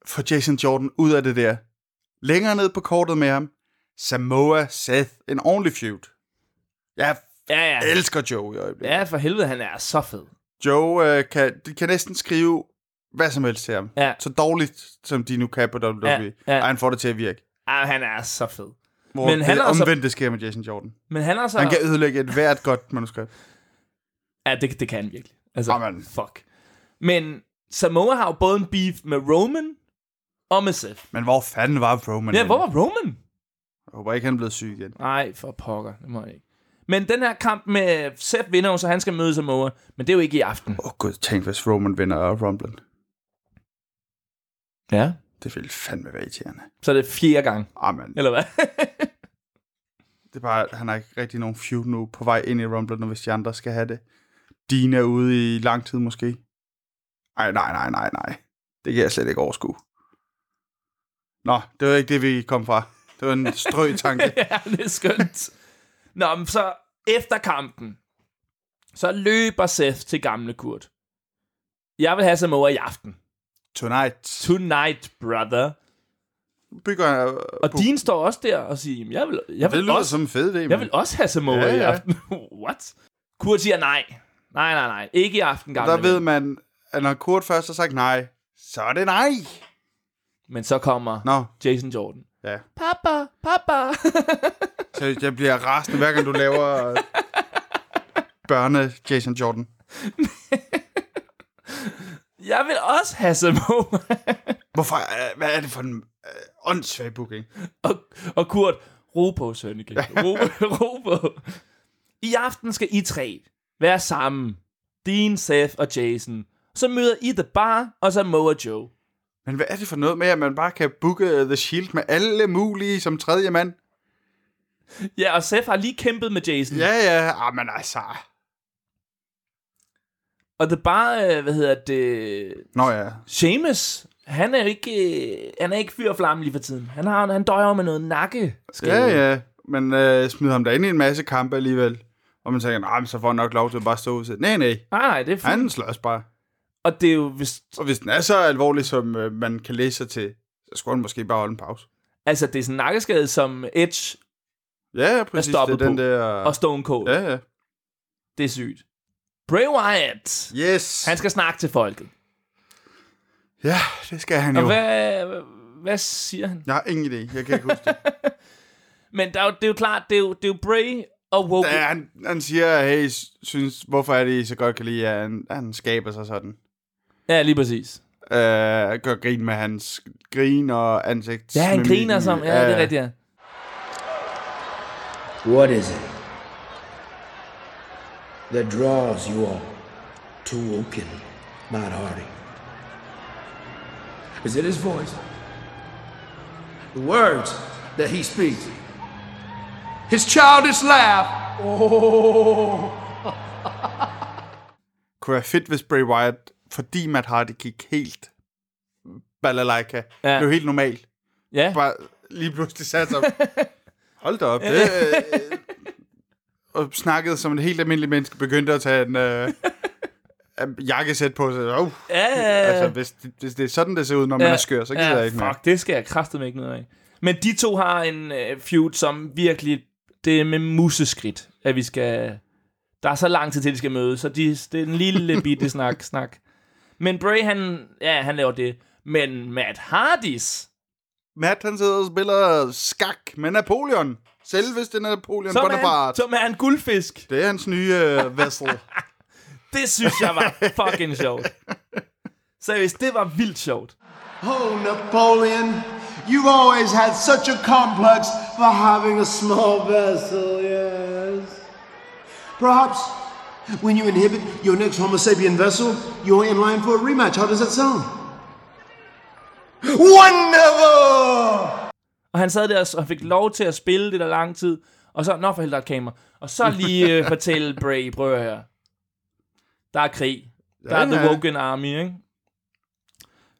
[SPEAKER 1] For Jason Jordan ud af det der. Længere ned på kortet med ham. Samoa, Seth, en ordentlig feud. Jeg
[SPEAKER 4] Ja, ja.
[SPEAKER 1] elsker Joe i øjeblikket.
[SPEAKER 4] Ja, for helvede, han er så fed.
[SPEAKER 1] Joe øh, kan, de kan næsten skrive hvad som helst til ham.
[SPEAKER 4] Ja.
[SPEAKER 1] Så dårligt, som de nu kan på WWE. Ja,
[SPEAKER 4] ja.
[SPEAKER 1] ja. Og han får det til at virke.
[SPEAKER 4] Ah, han er så fed.
[SPEAKER 1] Hvor
[SPEAKER 4] Men
[SPEAKER 1] Men
[SPEAKER 4] han
[SPEAKER 1] han det
[SPEAKER 4] er altså-
[SPEAKER 1] omvendt, det sker med Jason Jordan.
[SPEAKER 4] Men han er så...
[SPEAKER 1] Han kan ødelægge et hvert godt manuskript.
[SPEAKER 4] Ja, det, det kan han virkelig. Altså,
[SPEAKER 1] Amen.
[SPEAKER 4] fuck. Men Samoa har jo både en beef med Roman og med Seth.
[SPEAKER 1] Men hvor fanden var Roman?
[SPEAKER 4] Ja,
[SPEAKER 1] henne?
[SPEAKER 4] hvor var Roman?
[SPEAKER 1] Jeg håber ikke, han er blevet syg igen.
[SPEAKER 4] Nej, for pokker. Det må jeg ikke. Men den her kamp med Seth vinder jo, så han skal møde Samoa. Men det er jo ikke i aften.
[SPEAKER 1] Åh oh, gud, tænk hvis Roman vinder af Rumblen.
[SPEAKER 4] Ja.
[SPEAKER 1] Det ville fandme være irriterende.
[SPEAKER 4] Så er det fjerde gang,
[SPEAKER 1] Amen.
[SPEAKER 4] eller
[SPEAKER 1] [LAUGHS]
[SPEAKER 4] hvad?
[SPEAKER 1] Det er bare, at han har ikke rigtig nogen feud nu på vej ind i Rumblen, og hvis de andre skal have det. Dean er ude i lang tid måske. Ej, nej, nej, nej, nej. Det kan jeg slet ikke overskue. Nå, det var ikke det, vi kom fra. Det var en strøg
[SPEAKER 4] [LAUGHS]
[SPEAKER 1] tanke.
[SPEAKER 4] ja, det er skønt. Nå, men så efter kampen, så løber Seth til gamle Kurt. Jeg vil have Samoa i aften.
[SPEAKER 1] Tonight.
[SPEAKER 4] Tonight, brother.
[SPEAKER 1] Bygger jeg...
[SPEAKER 4] Og Dean står også der og siger, "Jamen, jeg vil, jeg
[SPEAKER 1] Det
[SPEAKER 4] vil
[SPEAKER 1] lyder
[SPEAKER 4] også
[SPEAKER 1] som en fed idé,
[SPEAKER 4] Jeg
[SPEAKER 1] men
[SPEAKER 4] vil også have Samoa ja,
[SPEAKER 1] Ja,
[SPEAKER 4] ja. i
[SPEAKER 1] ja.
[SPEAKER 4] aften. [LAUGHS] What? Kurt siger nej. Nej, nej, nej. Ikke i aften, gamle
[SPEAKER 1] der ved
[SPEAKER 4] ven.
[SPEAKER 1] man, at når Kurt først har sagt nej, så er det nej.
[SPEAKER 4] Men så kommer no.
[SPEAKER 1] Nå,
[SPEAKER 4] Jason Jordan.
[SPEAKER 1] ja.
[SPEAKER 4] Papa, papa.
[SPEAKER 1] Så jeg bliver rasende, hver gang du laver øh, børne Jason Jordan.
[SPEAKER 4] [LAUGHS] jeg vil også have Samoa.
[SPEAKER 1] Hvorfor? øh, Hvad er det for en øh, åndssvag booking?
[SPEAKER 4] og, og Kurt, ro på, Sønneke. Ro,
[SPEAKER 1] [LAUGHS]
[SPEAKER 4] ro på. I aften skal I tre være sammen. Dean, Seth og Jason. Så møder I The Bar og Samoa Joe.
[SPEAKER 1] Men hvad er det for noget med, at man bare kan booke øh, The Shield med alle mulige som tredje mand?
[SPEAKER 4] Ja, og Seth har lige kæmpet med Jason.
[SPEAKER 1] Ja, ja. Ah, men altså.
[SPEAKER 4] Og The Bar, øh, hvad hedder det...
[SPEAKER 1] Nå ja.
[SPEAKER 4] Seamus, han er jo ikke, øh, han er ikke fyr og flamme lige for tiden. Han, har, han døjer jo med noget nakke.
[SPEAKER 1] Ja, ja. Men øh, smider ham da ind i en masse kampe alligevel. Og man tænker, nej, men så får han nok lov til at bare stå ud. Nej, nej.
[SPEAKER 4] Nej, nej, det er fint.
[SPEAKER 1] Han slås bare.
[SPEAKER 4] Og det er jo, hvis,
[SPEAKER 1] Og hvis den er så alvorlig, som øh, man kan læse sig til, så skulle han måske bare holde en pause.
[SPEAKER 4] altså, det er sådan en nakkeskade som Edge
[SPEAKER 1] Ja, ja, præcis.
[SPEAKER 4] stoppet
[SPEAKER 1] Det er den
[SPEAKER 4] på.
[SPEAKER 1] der...
[SPEAKER 4] og Stone Cold.
[SPEAKER 1] Ja, ja.
[SPEAKER 4] Det er sygt. Bray Wyatt,
[SPEAKER 1] Yes.
[SPEAKER 4] han skal snakke til folket.
[SPEAKER 1] Ja, det skal han
[SPEAKER 4] Og
[SPEAKER 1] jo.
[SPEAKER 4] hvad, hvad siger han?
[SPEAKER 1] Jeg har ingen idé. Jeg kan ikke [LAUGHS] huske det.
[SPEAKER 4] Men der er jo, det er jo klart, det er jo, det er jo Bray og Woke.
[SPEAKER 1] Ja, han, han siger, hey, s- synes, hvorfor er det, I så godt kan lide, at han, han skaber sig sådan.
[SPEAKER 4] Ja, lige præcis.
[SPEAKER 1] Øh, gør grin med hans grin og ansigt. Øh,
[SPEAKER 4] Ja, han griner som, ja, det er rigtigt, ja.
[SPEAKER 8] What is it that draws you all to Woken, not Hardy? Is it his voice? The words that he speaks? His childish laugh? Oh.
[SPEAKER 1] Kunne være fedt, hvis Bray Wyatt, fordi Matt Hardy gik helt balalaika,
[SPEAKER 4] Ja.
[SPEAKER 1] ja. blev helt normal.
[SPEAKER 4] Ja,
[SPEAKER 1] Bare lige pludselig satte sig
[SPEAKER 4] [LAUGHS]
[SPEAKER 1] op. Hold da op. Det, øh, øh, og snakkede som et helt almindeligt menneske, begyndte at tage en
[SPEAKER 4] [LAUGHS]
[SPEAKER 1] øh, jakkesæt på sig. Oh,
[SPEAKER 4] ja, ja, ja.
[SPEAKER 1] Altså, hvis det, hvis det er sådan, det ser ud, når man er skør, så gider jeg ikke
[SPEAKER 4] Øh. fuck,
[SPEAKER 1] mere.
[SPEAKER 4] det skal jeg kraftedeme ikke noget af. Men de to har en øh, feud, som virkelig, det er med museskridt, at vi skal, der er så lang tid til, de skal mødes, så de, det er en lille bitte snak, snak. Men Bray, han, ja, han laver det. Men Matt Hardys,
[SPEAKER 1] Matt, han sidder og spiller skak med Napoleon. Selveste Napoleon
[SPEAKER 4] som er, en,
[SPEAKER 1] Bonaparte.
[SPEAKER 4] som er en guldfisk,
[SPEAKER 1] Det er hans nye øh, vessel.
[SPEAKER 4] det synes jeg var fucking sjovt. Seriøst, det var vildt sjovt.
[SPEAKER 9] Oh, Napoleon, you've always had such a complex for having a small vessel, yes. Perhaps when you inhibit your next Homo sapien vessel, you're in line for a rematch. How does that sound? Wonderful!
[SPEAKER 4] Og han sad der og fik lov til at spille det der lang tid. Og så, nå for helvede, der er et kamera. Og så lige
[SPEAKER 1] [LAUGHS]
[SPEAKER 4] øh, fortælle Bray, prøv at høre. Der er krig. Der er
[SPEAKER 1] Ja,
[SPEAKER 4] The
[SPEAKER 1] ja.
[SPEAKER 4] Woken Army, ikke?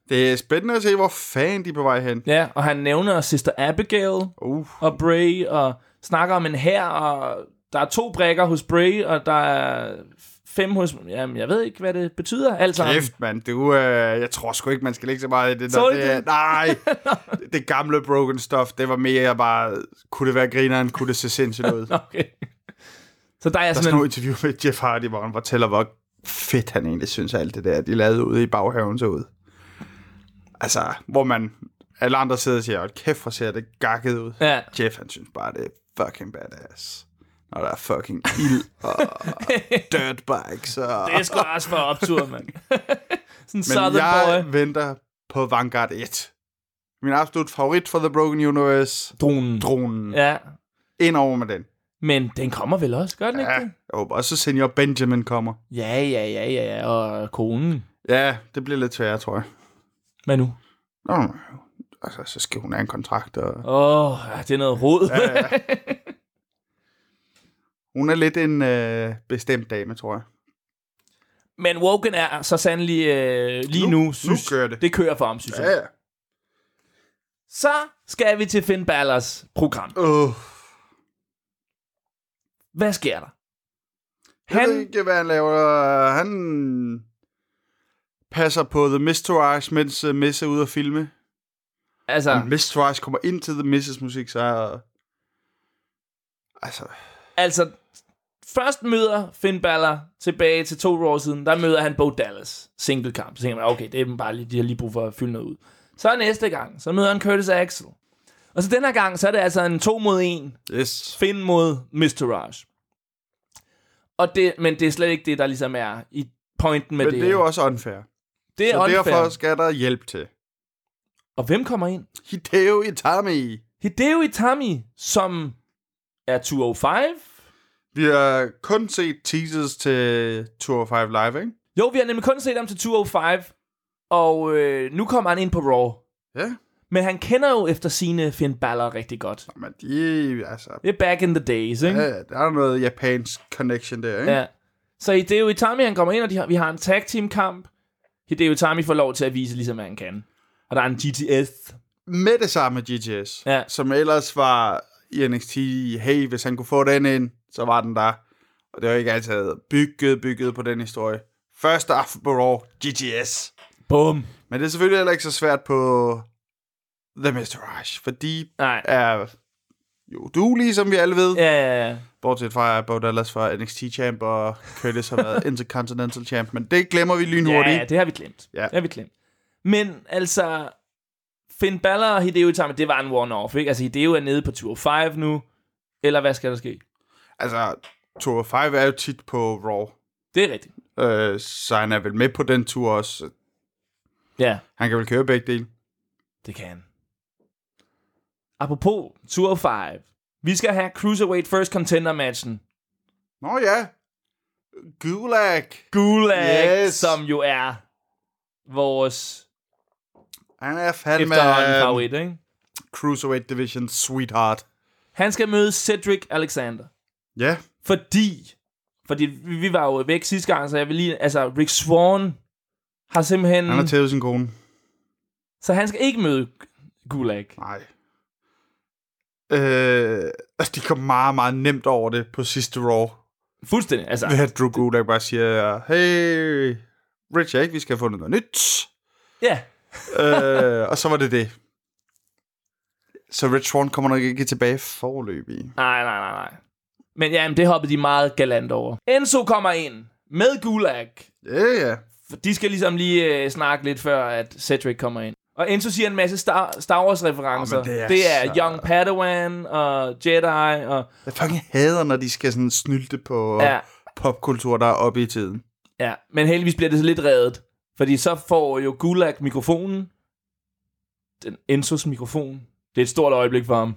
[SPEAKER 1] Det er spændende at se, hvor fanden de er på vej hen.
[SPEAKER 4] Ja, og han nævner Sister Abigail
[SPEAKER 1] Uh,
[SPEAKER 4] og Bray, og snakker om en her, og der er to brækker hos Bray, og der er fem hos... Jamen, jeg ved ikke, hvad det betyder. Altså, alt sammen.
[SPEAKER 1] kæft, mand. Du, øh, jeg tror sgu ikke, man skal lægge så meget i det.
[SPEAKER 4] Så
[SPEAKER 1] der.
[SPEAKER 4] du
[SPEAKER 1] det er-
[SPEAKER 4] det?
[SPEAKER 1] nej,
[SPEAKER 4] [LAUGHS]
[SPEAKER 1] det gamle broken stuff, det var mere bare, kunne det være grineren, kunne det se sindssygt ud.
[SPEAKER 4] [LAUGHS] Okay. Så der er jeg
[SPEAKER 1] Der sådan
[SPEAKER 4] sådan
[SPEAKER 1] nogle interview med Jeff Hardy, hvor han fortæller, hvor fedt han egentlig synes, at alt det der, de lavede ude i baghaven så ud. Altså, hvor man, alle andre sidder og siger, "Hold kæft, hvor ser det gakket ud.
[SPEAKER 4] Ja.
[SPEAKER 1] Jeff, han synes bare, det er fucking badass. Når der er fucking ild
[SPEAKER 4] [LAUGHS]
[SPEAKER 1] og dirtbikes og...
[SPEAKER 4] Det er sgu også for optur, mand. [LAUGHS] sådan en
[SPEAKER 1] Men
[SPEAKER 4] southern
[SPEAKER 1] jeg
[SPEAKER 4] boy.
[SPEAKER 1] venter på Vanguard 1. Min absolut favorit for The Broken Universe,
[SPEAKER 4] Dronen.
[SPEAKER 1] dronen.
[SPEAKER 4] Ja,
[SPEAKER 1] Ind over med den.
[SPEAKER 4] men den kommer vel også, gør den ikke
[SPEAKER 1] Ja,
[SPEAKER 4] det?
[SPEAKER 1] jeg håber også, at Senior Benjamin kommer.
[SPEAKER 4] Ja, ja, ja, ja, ja, og konen.
[SPEAKER 1] Ja, det bliver lidt sværere, tror jeg.
[SPEAKER 4] Hvad nu?
[SPEAKER 1] Nå, nå, nå. altså, så skal hun have en kontrakt, og
[SPEAKER 4] Åh, oh, det er noget rod. Ja, ja.
[SPEAKER 1] hun er lidt en øh, bestemt dame, tror jeg.
[SPEAKER 4] [LAUGHS] men Woken er så sandelig øh, lige
[SPEAKER 1] Nu-
[SPEAKER 4] nu, nu,
[SPEAKER 1] nu
[SPEAKER 4] synes,
[SPEAKER 1] kører det.
[SPEAKER 4] det kører for ham, synes jeg.
[SPEAKER 1] ja.
[SPEAKER 4] Så skal vi til Finn Balors program.
[SPEAKER 1] Uh,
[SPEAKER 4] Hvad sker der?
[SPEAKER 1] han... Jeg ved
[SPEAKER 4] Han,
[SPEAKER 1] ikke, hvad han laver. Han passer på The Mistourage, mens uh, Miss er ude at filme.
[SPEAKER 4] altså,
[SPEAKER 1] Ja. Mistourage kommer ind til The Misses musik, så er... Altså,
[SPEAKER 4] altså, først møder Finn Balor tilbage til to år siden, der møder han Bo Dallas, single kamp. Så tænker man, okay, det er dem bare lige, de har lige brug for at fylde noget ud. Så næste gang, så møder han Curtis Axel. Og så den her gang, så er det altså en 2 mod 1,
[SPEAKER 1] yes.
[SPEAKER 4] Finn mod Mr. Raj. Og det, men det er slet ikke det, der ligesom er i pointen med
[SPEAKER 1] Men
[SPEAKER 4] det.
[SPEAKER 1] det er jo også unfair.
[SPEAKER 4] det er
[SPEAKER 1] Så
[SPEAKER 4] unfair.
[SPEAKER 1] derfor skal der hjælp til.
[SPEAKER 4] Og hvem kommer ind?
[SPEAKER 1] Hideo Itami
[SPEAKER 4] Hideo Itami, som er 205.
[SPEAKER 1] Vi har kun set teasers til 205 Live, ikke?
[SPEAKER 4] Jo, vi har nemlig kun set ham til 205, og øh, nu kommer han ind på Raw.
[SPEAKER 1] Ja.
[SPEAKER 4] Men han kender jo efter sine Finn Balor rigtig godt.
[SPEAKER 1] Men de, altså,
[SPEAKER 4] Det er back in the days, ikke?
[SPEAKER 1] Ja, der er noget japansk connection der, ikke?
[SPEAKER 4] Ja. Så Hideo Itami, han kommer ind, og de har, vi har en tag team kamp. Hideo Itami får lov til at vise, ligesom hvad han kan. Og der er en GTS.
[SPEAKER 1] Med det samme GTS,
[SPEAKER 4] Ja.
[SPEAKER 1] som ellers var i NXT, hey, hvis han kunne få den ind, så var den der. Og det var ikke altid bygget, bygget på den historie. Første aften på Raw, GTS.
[SPEAKER 4] Bum.
[SPEAKER 1] Men det er selvfølgelig heller ikke så svært på The Mr. Rush, for de
[SPEAKER 4] Nej.
[SPEAKER 1] er jo duelige, som vi alle ved.
[SPEAKER 4] Ja, ja, ja.
[SPEAKER 1] Bortset fra, at Bo Dallas var NXT-champ, og Curtis har
[SPEAKER 4] [LAUGHS]
[SPEAKER 1] været Intercontinental champ, men det glemmer vi lynhurtigt.
[SPEAKER 4] Ja, det har vi glemt.
[SPEAKER 1] Ja.
[SPEAKER 4] Det har vi glemt. Men altså, Finn Balor og Hideo Itami, det var en one-off, ikke? Altså, Hideo er nede på 205 nu, eller hvad skal der ske?
[SPEAKER 1] Altså, 205 er jo tit på Raw.
[SPEAKER 4] Det er rigtigt.
[SPEAKER 1] Øh, så han er vel med på den tur også.
[SPEAKER 4] Ja,
[SPEAKER 1] Han kan vel køre begge dele.
[SPEAKER 4] det kan han. Apropos 205. Vi skal have Cruiserweight First Contender-matchen.
[SPEAKER 1] Nå ja. Gulag.
[SPEAKER 4] Gulag,
[SPEAKER 1] Yes.
[SPEAKER 4] yes. som jo er vores
[SPEAKER 1] Han er fandme
[SPEAKER 4] efterhånden
[SPEAKER 1] øhm,
[SPEAKER 4] favorit, ikke?
[SPEAKER 1] Cruiserweight Division sweetheart.
[SPEAKER 4] Han skal møde Cedric Alexander.
[SPEAKER 1] Ja.
[SPEAKER 4] Fordi, fordi vi vi var jo væk sidste gang, så jeg vil lige, altså Rick Swan har simpelthen,
[SPEAKER 1] Han har tævet sin kone.
[SPEAKER 4] så han skal ikke møde Gulag.
[SPEAKER 1] Nej. Øh, altså, de kom meget, meget nemt over det på sidste Raw.
[SPEAKER 4] Fuldstændig, altså.
[SPEAKER 1] Ved at Drew Gulag bare siger, hey, Rich, ikke? Vi skal have fundet noget nyt.
[SPEAKER 4] Ja,
[SPEAKER 1] øh, og så var det det. Så Rich Swan kommer nok ikke tilbage forløbig.
[SPEAKER 4] nej, nej, nej, nej. Men ja, men det hoppede de meget galant over. Enzo kommer ind med Gulag.
[SPEAKER 1] Ja, yeah, ja.
[SPEAKER 4] For De skal ligesom lige øh, snakke lidt før, at Cedric kommer ind. Og Enzo siger en masse Star, Star Wars-referencer.
[SPEAKER 1] Åh, men det er
[SPEAKER 4] det er
[SPEAKER 1] så-
[SPEAKER 4] Young Padawan og Jedi og...
[SPEAKER 1] Jeg fucking hader, når de skal sådan snylte på ja.
[SPEAKER 4] Ja.
[SPEAKER 1] popkultur, der er oppe i tiden.
[SPEAKER 4] Ja, men heldigvis bliver det så lidt reddet. Fordi så får jo Gulag mikrofonen. Den Enzos mikrofon. Det er et stort øjeblik for ham.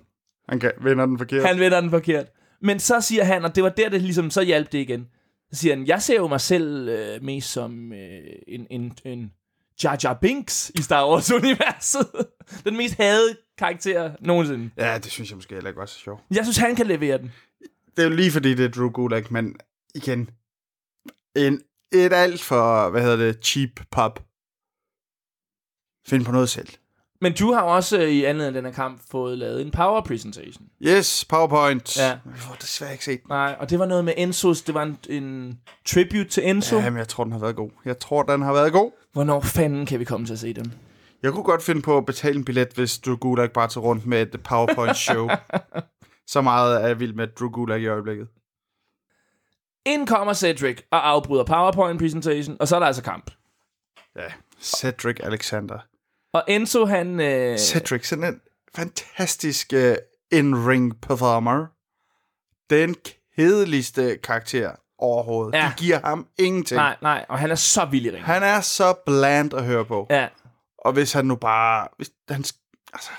[SPEAKER 1] Han kan, vender den forkert. Han...
[SPEAKER 4] Han vender den forkert. Men så siger han, og det var der, det ligesom, så hjalp det igen. Så siger han, jeg ser jo mig selv øh, [LAUGHS] mest som øh, en, en, en Jar Jar Binks i Star Wars-universet. Den mest hadede karakter nogensinde.
[SPEAKER 1] Ja, det synes jeg måske heller ikke var så sjovt.
[SPEAKER 4] Jeg synes, han kan levere den.
[SPEAKER 1] Det er jo lige fordi, det er Drew Gulak, men igen, en, et alt for, hvad hedder det, cheap pop. Find på noget selv.
[SPEAKER 4] Men du har også øh, i anledning af den her kamp fået lavet en power presentation.
[SPEAKER 1] Yes, PowerPoint.
[SPEAKER 4] Ja.
[SPEAKER 1] Jeg får desværre ikke set den.
[SPEAKER 4] Nej, og det var noget med Enzos. Det var en, en tribute til Enzo.
[SPEAKER 1] Jamen, jeg tror, den har været god. Jeg tror, den har været god.
[SPEAKER 4] Hvornår fanden kan vi komme til at se dem?
[SPEAKER 1] Jeg kunne godt finde på at betale en billet, hvis Drew Gulak bare tog rundt med et
[SPEAKER 4] [LAUGHS]
[SPEAKER 1] PowerPoint-show. så meget er jeg vild med Drew Gulak i øjeblikket.
[SPEAKER 4] Ind kommer Cedric og afbryder powerpoint presentation, og så er der altså kamp.
[SPEAKER 1] Ja, Cedric Alexander.
[SPEAKER 4] Og Enzo, han... Øh,
[SPEAKER 1] Cedric, sådan en fantastisk uh, in-ring performer. Den kedeligste karakter overhovedet.
[SPEAKER 4] Ja.
[SPEAKER 1] Ja. De giver ham ingenting.
[SPEAKER 4] nej, nej, og han er så vild i ringen.
[SPEAKER 1] Han er så bland at høre på.
[SPEAKER 4] Ja,
[SPEAKER 1] Og hvis han nu bare... Hvis han, sk- altså,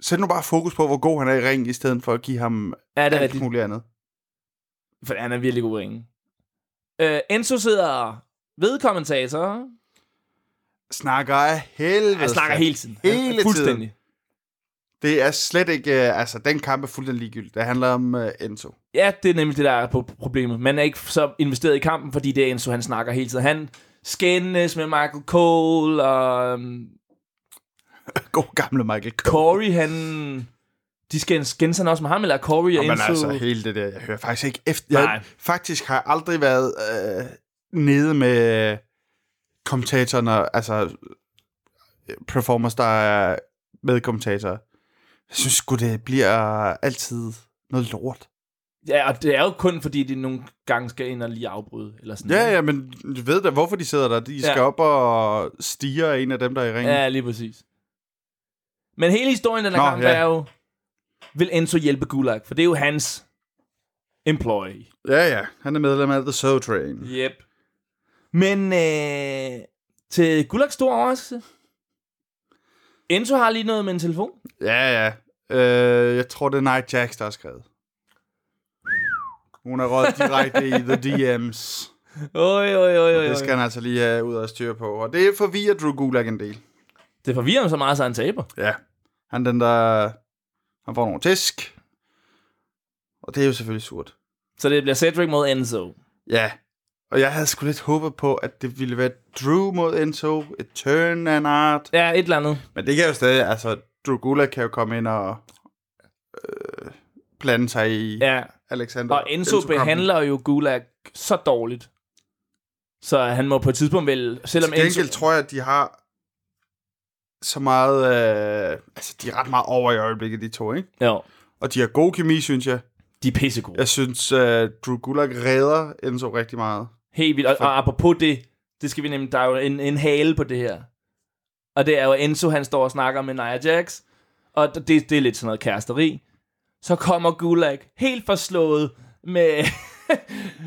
[SPEAKER 1] sæt nu bare fokus på, hvor god han er i ring, i stedet for at give ham
[SPEAKER 4] Ja, det er
[SPEAKER 1] alt
[SPEAKER 4] rigtigt.
[SPEAKER 1] muligt andet.
[SPEAKER 4] for han er virkelig god i ringen. Øh, Enzo sidder ved kommentatorer.
[SPEAKER 1] Snakker af helvede.
[SPEAKER 4] Han snakker
[SPEAKER 1] til.
[SPEAKER 4] hele Altså, tiden. Han-
[SPEAKER 1] Hele
[SPEAKER 4] Fuldstændig.
[SPEAKER 1] tiden. Det er slet ikke... øh, altså, den kamp er fuldstændig ligegyldig. Det handler om uh, Enzo.
[SPEAKER 4] Ja, det er nemlig det, der er på problemet. Man er ikke så investeret i kampen, fordi det er Enzo, han snakker hele tiden. Han skændes med Michael Cole, og øhm,
[SPEAKER 1] God gamle Michael Cole.
[SPEAKER 4] Corey, han... De skændes, skændes han også med ham, eller er Corey og
[SPEAKER 1] Og men
[SPEAKER 4] Enzo...
[SPEAKER 1] altså, hele det der, jeg hører faktisk ikke efter.
[SPEAKER 4] Nej.
[SPEAKER 1] Jeg, faktisk har jeg aldrig været øh, nede med kommentatoren, og- altså øh, performers, der er med kommentatorer. Jeg synes sgu, det bliver altid noget lort.
[SPEAKER 4] Ja, og det er jo kun, fordi de nogle gange skal ind og lige afbryde, eller sådan
[SPEAKER 1] Ja, ja, men du ved da, hvorfor de sidder der. De skal
[SPEAKER 4] Mm. Ja.
[SPEAKER 1] op og stige en af dem, der er i ringen. Ja.
[SPEAKER 4] Ja, lige præcis. Men hele historien i den her
[SPEAKER 1] Nå,
[SPEAKER 4] kamp
[SPEAKER 1] ja.
[SPEAKER 4] er jo, vil Enzo hjælpe Gulag? For det er jo hans employee.
[SPEAKER 1] ja, ja. Han er medlem af The Soul Train.
[SPEAKER 4] Yep. Men øh, til Gulags store overraskelse, Enzo har lige noget med en telefon.
[SPEAKER 1] Ja, ja. Øh, jeg tror, det er Night Jax, der har skrevet. Hun er råd direkte i The DM's. [LAUGHS]
[SPEAKER 4] Oj, oj, oj, oj, oj.
[SPEAKER 1] Det skal han altså lige have ud og styre på. Og det forvirrer Drew Gulak en del.
[SPEAKER 4] det forvirrer ham så meget, så han taber.
[SPEAKER 1] Ja. Han er den, der... Han får nogle tæsk. Og det er jo selvfølgelig surt.
[SPEAKER 4] Så det bliver Cedric mod Enzo.
[SPEAKER 1] Ja. Og jeg havde sgu lidt håbet på, at det ville være Drew mod Enzo. Et turn and art.
[SPEAKER 4] Ja, et eller andet.
[SPEAKER 1] Men det kan jo stadig... Altså, Drew Gulak kan jo komme ind og... Øh, blande sig i
[SPEAKER 4] Ja.
[SPEAKER 1] Alexander.
[SPEAKER 4] Og Enzo
[SPEAKER 1] Enzo-kampen.
[SPEAKER 4] behandler jo Gulag så dårligt. Så han må på et tidspunkt vel, selvom
[SPEAKER 1] Til gengæld
[SPEAKER 4] Enzo...
[SPEAKER 1] tror jeg, at de har så meget... Øh, altså, de er ret meget over i øjeblikket, de to, ikke?
[SPEAKER 4] Jo,
[SPEAKER 1] Og de har god kemi, synes jeg.
[SPEAKER 4] de er pissegode.
[SPEAKER 1] Jeg synes, uh, Drew Gulak redder Enzo rigtig meget.
[SPEAKER 4] Helt vildt. Og, og apropos det, det skal vi nemlig, der er jo en, en hale på det her. Og det er jo Enzo, han står og snakker med Nia Jax. Og d- det, det er lidt sådan noget kæresteri. Så kommer Gulag helt forslået med... [LAUGHS]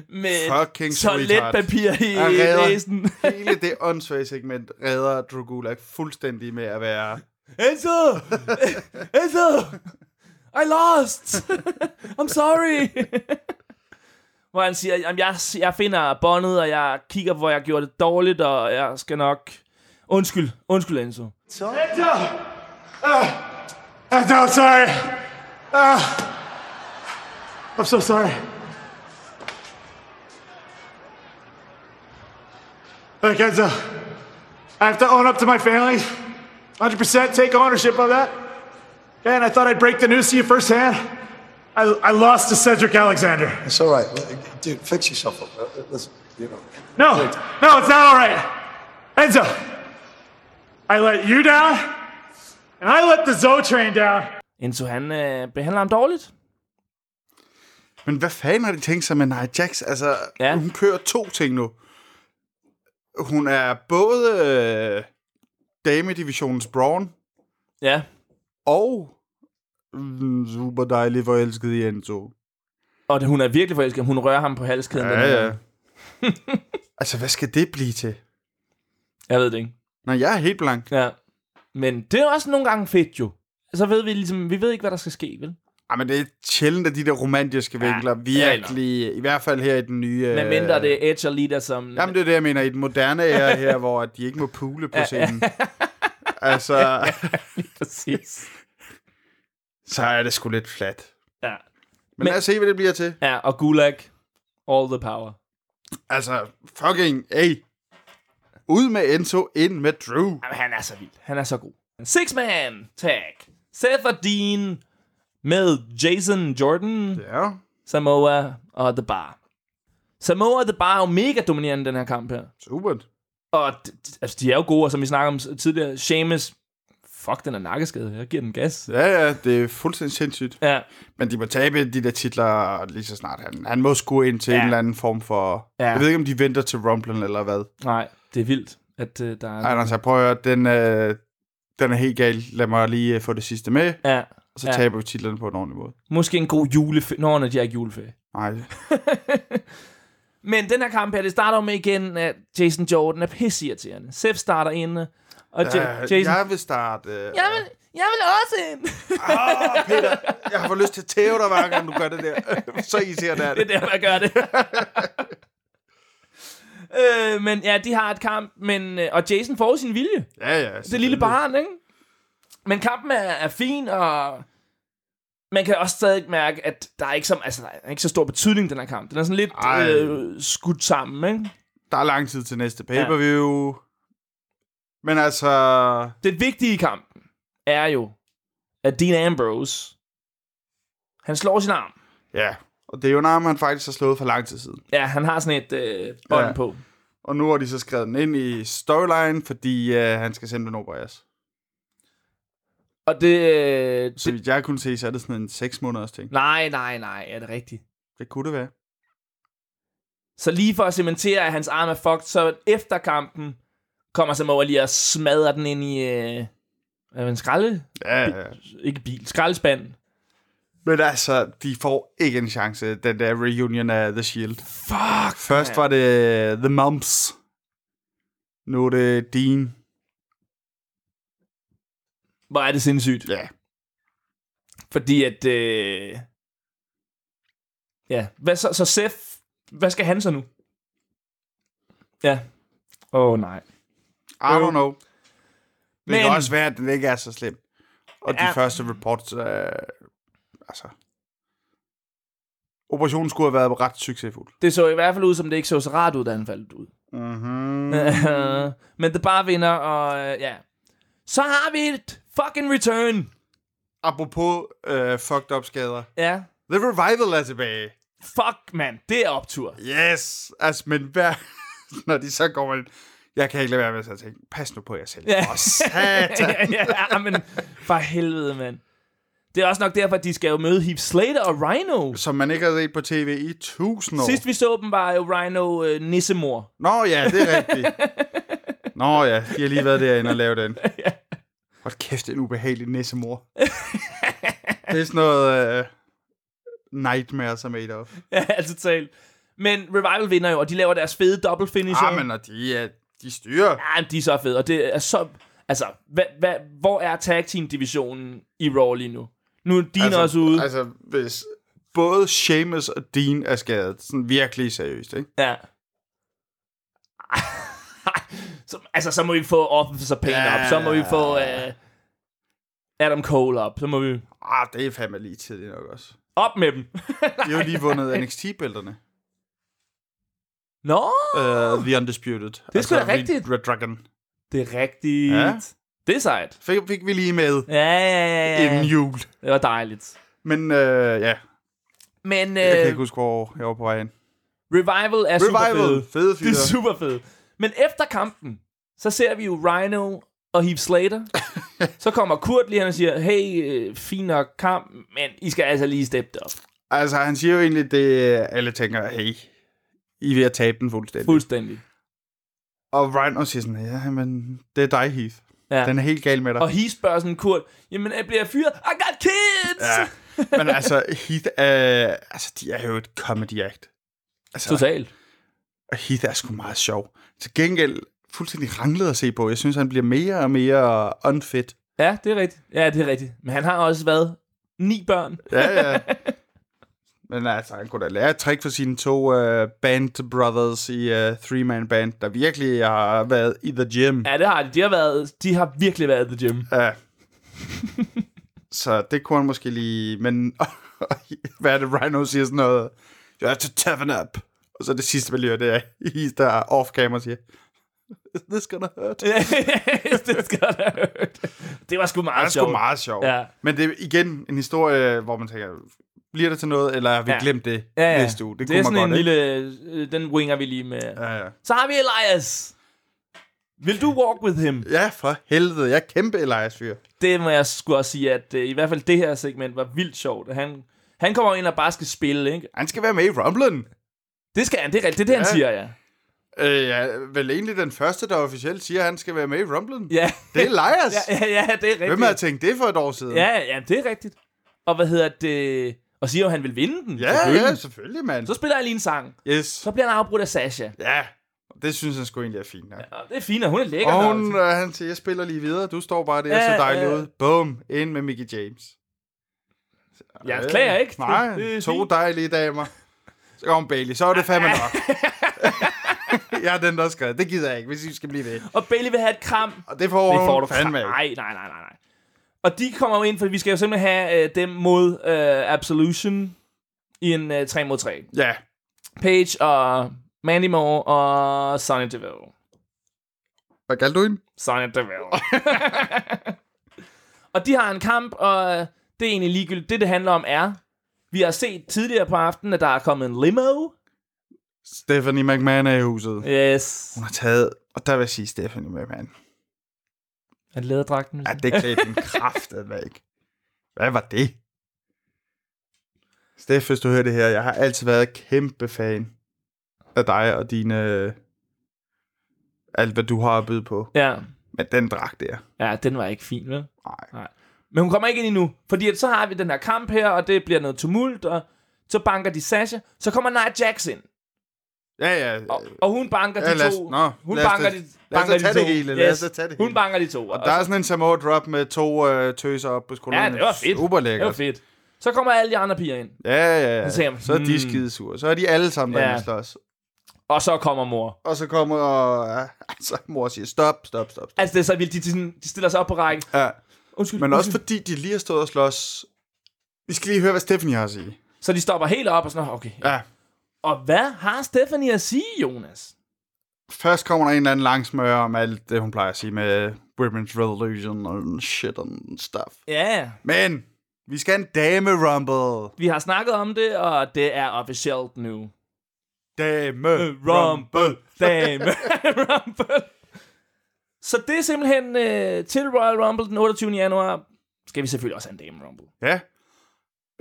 [SPEAKER 4] med
[SPEAKER 1] Fucking sweetheart.
[SPEAKER 4] toiletpapir i
[SPEAKER 1] Han redder
[SPEAKER 4] næsen. [LAUGHS]
[SPEAKER 1] hele det åndssvage segment redder Drew Gulak fuldstændig med at være...
[SPEAKER 4] Enzo! Enzo! I lost! I'm sorry! hvor han siger, "Jamen, jeg, jeg finder båndet, og jeg kigger, hvor jeg gjorde det dårligt, og jeg skal nok... Undskyld, undskyld Enzo.
[SPEAKER 3] I'm so sorry. Ah. I'm so sorry. Look, Enzo, I have to own up to my family. 100% take ownership of that. And I thought I'd break the news to you firsthand. I, I lost to Cedric Alexander.
[SPEAKER 10] It's all right, dude. Fix yourself up. Uh, uh, Listen, you know.
[SPEAKER 3] No, no, it's not all right. Enzo, I let you down, and I let the Zo train down.
[SPEAKER 4] Enzo, han øh, behandler ham dårligt.
[SPEAKER 1] Men hvad fanden har de tænkt sig med Nia Jax? Altså,
[SPEAKER 4] Ja.
[SPEAKER 1] ja. hun kører to ting nu. Hun er både øh, damedivisionens Braun,
[SPEAKER 4] Ja,
[SPEAKER 1] og mm, super dejlig forelsket i Enzo.
[SPEAKER 4] og det, hun er virkelig forelsket. Hun rører ham på halskæden. den her.
[SPEAKER 1] [LAUGHS] altså, hvad skal det blive til?
[SPEAKER 4] Jeg ved det ikke.
[SPEAKER 1] Når jeg er helt blank.
[SPEAKER 4] Ja. Men det er også nogle gange fedt jo. Så ved vi ligesom, vi ved ikke, hvad der skal ske, vel?
[SPEAKER 1] Ej, men det er sjældent, at de der romantiske
[SPEAKER 4] Ja,
[SPEAKER 1] vinkler virkelig, i hvert fald her i den nye... øh,
[SPEAKER 4] Men mindre det er Edge og Lita, som...
[SPEAKER 1] [LAUGHS] Jamen, det er det, jeg mener, i den moderne æra her, hvor at de ikke må pule på scenen. [LAUGHS] Altså,
[SPEAKER 4] præcis.
[SPEAKER 1] så er det sgu lidt flat.
[SPEAKER 4] [LAUGHS] Ja.
[SPEAKER 1] Men, Men lad os se, hvad det bliver til.
[SPEAKER 4] ja, og Gulag, all the power.
[SPEAKER 1] Altså, fucking, ey. Ud med Enzo, ind med Drew.
[SPEAKER 4] Jamen, han er så vild. Han er så god. Six Man Tag. Seth og Dean med Jason Jordan,
[SPEAKER 1] Ja.
[SPEAKER 4] Samoa og The Bar. Samoa og The Bar er jo mega dominerende i den her kamp her.
[SPEAKER 1] Super.
[SPEAKER 4] Og d- d- altså, de er jo gode, og som vi snakker om s- tidligere, Seamus, fuck, den er nakkeskade. Jeg giver den gas.
[SPEAKER 1] Ja, ja, det er fuldstændig sindssygt.
[SPEAKER 4] Ja,
[SPEAKER 1] Men de må tabe de der titler lige så snart. Han, han må sgu ind til ja.
[SPEAKER 4] Ja.
[SPEAKER 1] en eller anden form for...
[SPEAKER 4] Ja.
[SPEAKER 1] Ja. Jeg ved ikke, om de venter til Rumblen eller hvad.
[SPEAKER 4] nej, det er vildt, at øh, der er...
[SPEAKER 1] Ej, altså, prøv at høre, den, øh, den er helt gal. Lad mig lige øh, få det sidste med,
[SPEAKER 4] Ja,
[SPEAKER 1] og så
[SPEAKER 4] Ja.
[SPEAKER 1] ja. taber vi titlerne på en ordentlig måde.
[SPEAKER 4] måske en god juleferie. Nå, når de er ikke juleferie.
[SPEAKER 1] Nej,
[SPEAKER 4] Men den her kamp her, det starter jo med igen, at Jason Jordan er pissirriterende. Seth starter inde, og ja,
[SPEAKER 1] øh,
[SPEAKER 4] Jason...
[SPEAKER 1] jeg vil starte... Øh,
[SPEAKER 4] Jeg vil, jeg vil også ind.
[SPEAKER 1] Åh, Peter, jeg har fået lyst til at tæve dig, hver gang du gør det der. [LAUGHS] så irriterende er det.
[SPEAKER 4] [LAUGHS] det er derfor, jeg gør
[SPEAKER 1] [LAUGHS]
[SPEAKER 4] det. øh, men ja, de har et kamp, men, øh, og Jason får sin vilje.
[SPEAKER 1] Ja, ja.
[SPEAKER 4] Det lille barn, ikke? Men kampen er, er fin, og man kan også stadig mærke, at der er ikke så, altså, der er ikke så stor betydning, den her kamp. Den er sådan lidt
[SPEAKER 1] Ej.
[SPEAKER 4] øh, skudt sammen, ikke?
[SPEAKER 1] Der er lang tid til næste pay-per-view. Ja. Men altså...
[SPEAKER 4] Det vigtige i kampen er jo, at Dean Ambrose, han slår sin arm.
[SPEAKER 1] Ja, og det er jo en arm, han faktisk har slået for lang tid siden.
[SPEAKER 4] Ja, han har sådan et øh, bånd
[SPEAKER 1] Ja.
[SPEAKER 4] på.
[SPEAKER 1] Og nu har de så skrevet den ind i storyline, fordi øh, han skal simpelthen opereres.
[SPEAKER 4] Og det, øh,
[SPEAKER 1] Så vidt jeg kunne se, så er det sådan en 6 måneders ting.
[SPEAKER 4] Nej, nej, nej, er det rigtigt?
[SPEAKER 1] Det kunne det være.
[SPEAKER 4] Så lige for at cementere, at hans arm er fucked, så efter kampen kommer Samoa lige og smadrer den ind i øh, hvad er det, en skralde...
[SPEAKER 1] Ja, ja.
[SPEAKER 4] Ikke bil, skraldespand.
[SPEAKER 1] Men altså, de får ikke en chance, den der reunion af The Shield. Fuck! Først var det øh, The Mumps. Nu er det Dean.
[SPEAKER 4] Hvor er det sindssygt.
[SPEAKER 1] Ja.
[SPEAKER 4] Fordi at... Øh, ja, hvad så, så Seth, hvad skal han så nu? Ja. Åh oh, nej.
[SPEAKER 1] I don't know. Det Men... kan
[SPEAKER 4] Men-
[SPEAKER 1] også være, at den ikke er så slem. Og de
[SPEAKER 4] Ja.
[SPEAKER 1] første reports øh, altså... Operationen skulle have været ret succesfuld.
[SPEAKER 4] Det så i hvert fald ud, som det ikke så så rart ud, da han faldt ud.
[SPEAKER 1] Mm-hmm.
[SPEAKER 4] [LAUGHS] Men det bare vinder, og øh, ja. Så har vi et fucking return.
[SPEAKER 1] Apropos øh, fucked up skader.
[SPEAKER 4] Ja.
[SPEAKER 1] The Revival er tilbage.
[SPEAKER 4] Fuck, mand. Det er
[SPEAKER 1] [LAUGHS]
[SPEAKER 4] optur.
[SPEAKER 1] Yes! Altså, men hver... [LAUGHS] Når de så går ind... Jeg kan ikke lade være med at tænke, pas nu på jer selv.
[SPEAKER 4] Ja.
[SPEAKER 1] Åh, satan!
[SPEAKER 4] [LAUGHS] ja, men for helvede, mand. Det er også nok derfor, at de skal jo møde Heath Slater og Rhino.
[SPEAKER 1] Som man ikke har set på tv i tusind år.
[SPEAKER 4] Sidst vi så dem, var jo Rhino øh, nissemor. [LAUGHS]
[SPEAKER 1] Nå ja, det er rigtigt. Nå ja, de har lige været derinde og lavet
[SPEAKER 4] [LAUGHS]
[SPEAKER 1] den. Hold kæft, en ubehagelig nissemor. det er sådan noget... Øh, nightmares are made of.
[SPEAKER 4] Ja, altså totalt. Men Revival vinder jo, og de laver deres fede double finisher.
[SPEAKER 1] Ah, men og de, er, de styrer.
[SPEAKER 4] Ja, de er så fede, og det er så... Altså, hvad, hvad, hvor er tag team-divisionen i Raw lige nu? Nu er Dean altså, også ude. Altså,
[SPEAKER 1] Altså, hvis både Seamus og Dean er skadet, sådan virkelig seriøst, ikke?
[SPEAKER 4] ja. [LAUGHS] så, altså, så må vi få Officer Payne op. Så må vi få øh, Adam Cole op. Så må vi...
[SPEAKER 1] Ah, det er fandme lige tidligt nok også.
[SPEAKER 4] Op med dem. [LAUGHS]
[SPEAKER 1] De har jo lige vundet NXT-bælterne.
[SPEAKER 4] Nå,
[SPEAKER 1] Uh, The Undisputed. Det
[SPEAKER 4] sgu da rigtigt.
[SPEAKER 1] Red Dragon.
[SPEAKER 4] det er rigtigt.
[SPEAKER 1] Ja.
[SPEAKER 4] Det er sejt.
[SPEAKER 1] Fik, fik vi lige med
[SPEAKER 4] Ja, ja, ja, ja.
[SPEAKER 1] inden jul.
[SPEAKER 4] Det var dejligt.
[SPEAKER 1] Men øh, ja,
[SPEAKER 4] Men
[SPEAKER 1] jeg kan
[SPEAKER 4] øh,
[SPEAKER 1] ikke huske, hvor jeg var på vej hen.
[SPEAKER 4] Revival er super fede.
[SPEAKER 1] Revival. Fede
[SPEAKER 4] [LAUGHS] Det er
[SPEAKER 1] fyre.
[SPEAKER 4] super fedt. Men efter kampen, så ser vi jo Rhino og Heath
[SPEAKER 1] [LAUGHS]
[SPEAKER 4] Slater. så kommer Kurt lige hen og siger, hey, øh, fin nok kamp, men I skal altså lige steppe det op.
[SPEAKER 1] Altså, han siger jo egentlig det, alle tænker, hey, I er ved at tabe den fuldstændig. Fuld.
[SPEAKER 4] Fuldstændig.
[SPEAKER 1] Og Rhino siger sådan, ja, men det er dig, Heath.
[SPEAKER 4] Ja.
[SPEAKER 1] Den er helt gal med dig.
[SPEAKER 4] Og Heath spørger sådan Kurt, jamen jeg bliver fyret, I got kids!
[SPEAKER 1] Ja. Men altså, Heath er, altså, de er jo et comedy act. Altså,
[SPEAKER 4] Totalt.
[SPEAKER 1] Og Heath er sgu meget sjov. Til gengæld fuldstændig ranglet at se på. Jeg synes, han bliver mere og mere unfit.
[SPEAKER 4] Ja, det er rigtigt. Ja, det er rigtigt. Men han har også været ni børn.
[SPEAKER 1] Ja, ja. Men altså, han kunne da lære et trick for sine to uh, band brothers i uh, Three Man Band, der virkelig har været i the gym.
[SPEAKER 4] Ja, det har de. De har, været, de har virkelig været i the gym. [LAUGHS]
[SPEAKER 1] Ja. Så det kunne han måske lige... Men [LAUGHS] hvad er det, Rhino siger sådan noget? You have to toughen up. Og så det sidste, man lige hører, det er, [LAUGHS] he's der off-camera siger, is this gonna hurt?
[SPEAKER 4] det skal da hørt. Det var sgu meget
[SPEAKER 1] Det er
[SPEAKER 4] sjovt.
[SPEAKER 1] sgu meget sjovt.
[SPEAKER 4] Ja.
[SPEAKER 1] Men det er igen en historie, hvor man tænker, bliver det til noget, eller har vi
[SPEAKER 4] Ja.
[SPEAKER 1] glemt det
[SPEAKER 4] Ja, ja.
[SPEAKER 1] næste uge?
[SPEAKER 4] Det,
[SPEAKER 1] Det,
[SPEAKER 4] det er
[SPEAKER 1] kunne
[SPEAKER 4] sådan
[SPEAKER 1] man
[SPEAKER 4] en
[SPEAKER 1] godt, ikke?
[SPEAKER 4] lille... øh, Den winger vi lige med. Ja.
[SPEAKER 1] Ja, ja.
[SPEAKER 4] Så har vi Elias. Vil du walk with him?
[SPEAKER 1] ja, for helvede. Jeg er kæmpe Elias-fyr.
[SPEAKER 4] Det må jeg sgu også sige, at øh, i hvert fald det her segment var vildt sjovt. Han, han kommer ind og bare skal spille, ikke?
[SPEAKER 1] Han skal være med i Rumblen.
[SPEAKER 4] Det skal han, det er rigtigt. Det er det, han
[SPEAKER 1] Ja.
[SPEAKER 4] siger, ja.
[SPEAKER 1] Øh, ja, vel egentlig den første, der officielt siger, at han skal være med i Rumblen.
[SPEAKER 4] Ja,
[SPEAKER 1] Det er Elias.
[SPEAKER 4] ja, ja, ja det er rigtigt.
[SPEAKER 1] Hvem havde tænkt det for et år siden?
[SPEAKER 4] Ja, ja, det er rigtigt. Og hvad hedder det? Og siger jo, at han vil vinde den.
[SPEAKER 1] ja,
[SPEAKER 4] selvfølgelig.
[SPEAKER 1] ja selvfølgelig, mand.
[SPEAKER 4] Så spiller han lige en sang.
[SPEAKER 1] Yes.
[SPEAKER 4] Så bliver han afbrudt af Sasha.
[SPEAKER 1] Ja, det synes han sgu egentlig er fint. Ja.
[SPEAKER 4] Og det er fint, og hun er lækker.
[SPEAKER 1] Og
[SPEAKER 4] nok.
[SPEAKER 1] hun, øh, han siger, jeg spiller lige videre. Du står bare der,
[SPEAKER 4] Ja,
[SPEAKER 1] ja, så dejlig
[SPEAKER 4] ja.
[SPEAKER 1] ud. Boom, ind med Mickey James.
[SPEAKER 4] jeg klager ikke.
[SPEAKER 1] Nej,
[SPEAKER 4] Det- det er
[SPEAKER 1] to
[SPEAKER 4] fint.
[SPEAKER 1] dejlige damer. Så kom Bailey, så er det fandme
[SPEAKER 4] [LAUGHS]
[SPEAKER 1] nok. jeg er den, der har skrevet. Det gider jeg ikke, hvis I skal blive ved.
[SPEAKER 4] Og Bailey vil have et kram.
[SPEAKER 1] Og det får,
[SPEAKER 4] Det får du
[SPEAKER 1] fandme ikke.
[SPEAKER 4] Nej, nej, nej, nej, nej. Og de kommer jo ind, for vi skal jo simpelthen have øh, dem mod øh, Absolution i en øh, 3 mod 3.
[SPEAKER 1] Ja,
[SPEAKER 4] Page og Mandy Moore og Sonya Deville.
[SPEAKER 1] hvad kaldte du hende?
[SPEAKER 4] Sonya
[SPEAKER 1] [LAUGHS]
[SPEAKER 4] Deville. og de har en kamp, og øh, det er egentlig ligegyldigt. Det, det handler om, er, vi har set tidligere på aftenen, at der er kommet en limo.
[SPEAKER 1] Stephanie McMahon er i huset.
[SPEAKER 4] Yes.
[SPEAKER 1] Hun har taget, og der vil jeg sige Stephanie McMahon.
[SPEAKER 4] Han lader dragten.
[SPEAKER 1] Ja, det klædte den kraft, ikke. Hvad var det? Steff, hvis du hører det her, jeg har altid været kæmpe fan af dig og dine... øh, Alt, hvad du har at byde på.
[SPEAKER 4] Ja.
[SPEAKER 1] Men den dragt der.
[SPEAKER 4] ja, den var ikke fin, vel?
[SPEAKER 1] Nej.
[SPEAKER 4] Men hun kommer ikke ind endnu, fordi at så har vi den her kamp her, og det bliver noget tumult, og så banker de Sasha. Så kommer Nia Jax ind,
[SPEAKER 1] Ja, ja.
[SPEAKER 4] og, og hun banker de
[SPEAKER 1] Øh, Ja, lad os-
[SPEAKER 4] to.
[SPEAKER 1] nå,
[SPEAKER 4] hun
[SPEAKER 1] lad os
[SPEAKER 4] banker
[SPEAKER 1] da-
[SPEAKER 4] de,
[SPEAKER 1] lad os da
[SPEAKER 4] banker de
[SPEAKER 1] tage
[SPEAKER 4] to.
[SPEAKER 1] det hele, lad os da tage det
[SPEAKER 4] Hun
[SPEAKER 1] hele.
[SPEAKER 4] banker de to. Og,
[SPEAKER 1] Der er sådan en Samoa drop med to øh, tøser op på skulderen.
[SPEAKER 4] ja, det var fedt.
[SPEAKER 1] Super
[SPEAKER 4] det var
[SPEAKER 1] lækkert.
[SPEAKER 4] fedt. Så kommer alle de andre piger ind,
[SPEAKER 1] Ja, ja, ja.
[SPEAKER 4] Så tænker jeg,
[SPEAKER 1] Så er
[SPEAKER 4] hmm.
[SPEAKER 1] de skide sure. Så er de alle sammen
[SPEAKER 4] Ja.
[SPEAKER 1] derinde ja. slås.
[SPEAKER 4] og så kommer mor.
[SPEAKER 1] Og så kommer... Øh, så mor siger, stop, stop, stop. stop.
[SPEAKER 4] Altså, det er så vildt, de, de, sådan- de stiller sig op på række.
[SPEAKER 1] Ja.
[SPEAKER 4] Undskyld,
[SPEAKER 1] Men også
[SPEAKER 4] undskyld.
[SPEAKER 1] fordi de lige har stået og slås. Vi skal lige høre, hvad Stephanie har at sige.
[SPEAKER 4] Så de stopper helt op og sådan, okay.
[SPEAKER 1] Ja.
[SPEAKER 4] Og hvad har Stephanie at sige, Jonas?
[SPEAKER 1] Først kommer der en eller anden langsmør om alt det, hun plejer at sige med Women's Revolution og shit and stuff.
[SPEAKER 4] Ja,
[SPEAKER 1] Men vi skal have en dame rumble.
[SPEAKER 4] vi har snakket om det, og det er officielt nu.
[SPEAKER 1] Dame
[SPEAKER 4] Rumble. Dame. [LAUGHS] Rumble. Så det er simpelthen øh, til Royal Rumble den 28. januar. Skal vi selvfølgelig også have en Dame Rumble.
[SPEAKER 1] Ja.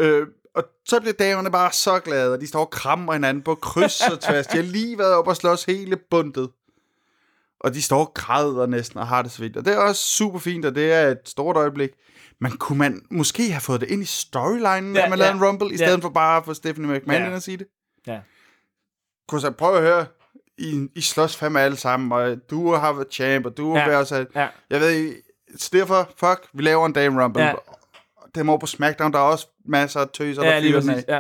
[SPEAKER 1] Øh, og så bliver damerne bare så glade, og de står og krammer hinanden på kryds
[SPEAKER 4] [LAUGHS]
[SPEAKER 1] og tværs. De har lige været op og slås hele bundet. Og de står og græder næsten og har det så vildt. Og det er også super fint, og det er et stort øjeblik. Men kunne man måske have fået det ind i storylinen,
[SPEAKER 4] Ja,
[SPEAKER 1] ja, at man
[SPEAKER 4] ja.
[SPEAKER 1] lavede en rumble, i
[SPEAKER 4] Ja.
[SPEAKER 1] stedet for bare at få Stephanie McMahon
[SPEAKER 4] Ja.
[SPEAKER 1] ja. ind og sige det?
[SPEAKER 4] Ja.
[SPEAKER 1] Kunne så prøve at høre, I, I slås fandme alle sammen, og du har været champ, og du
[SPEAKER 4] Ja.
[SPEAKER 1] ja. har også...
[SPEAKER 4] Ja.
[SPEAKER 1] Jeg ved ikke, så derfor, fuck, vi laver en Dame Rumble.
[SPEAKER 4] Ja.
[SPEAKER 1] Ja. Dem over på SmackDown, der er også masser af tøser,
[SPEAKER 4] Ja,
[SPEAKER 1] der
[SPEAKER 4] lige
[SPEAKER 1] fyrer den
[SPEAKER 4] præcis.
[SPEAKER 1] af.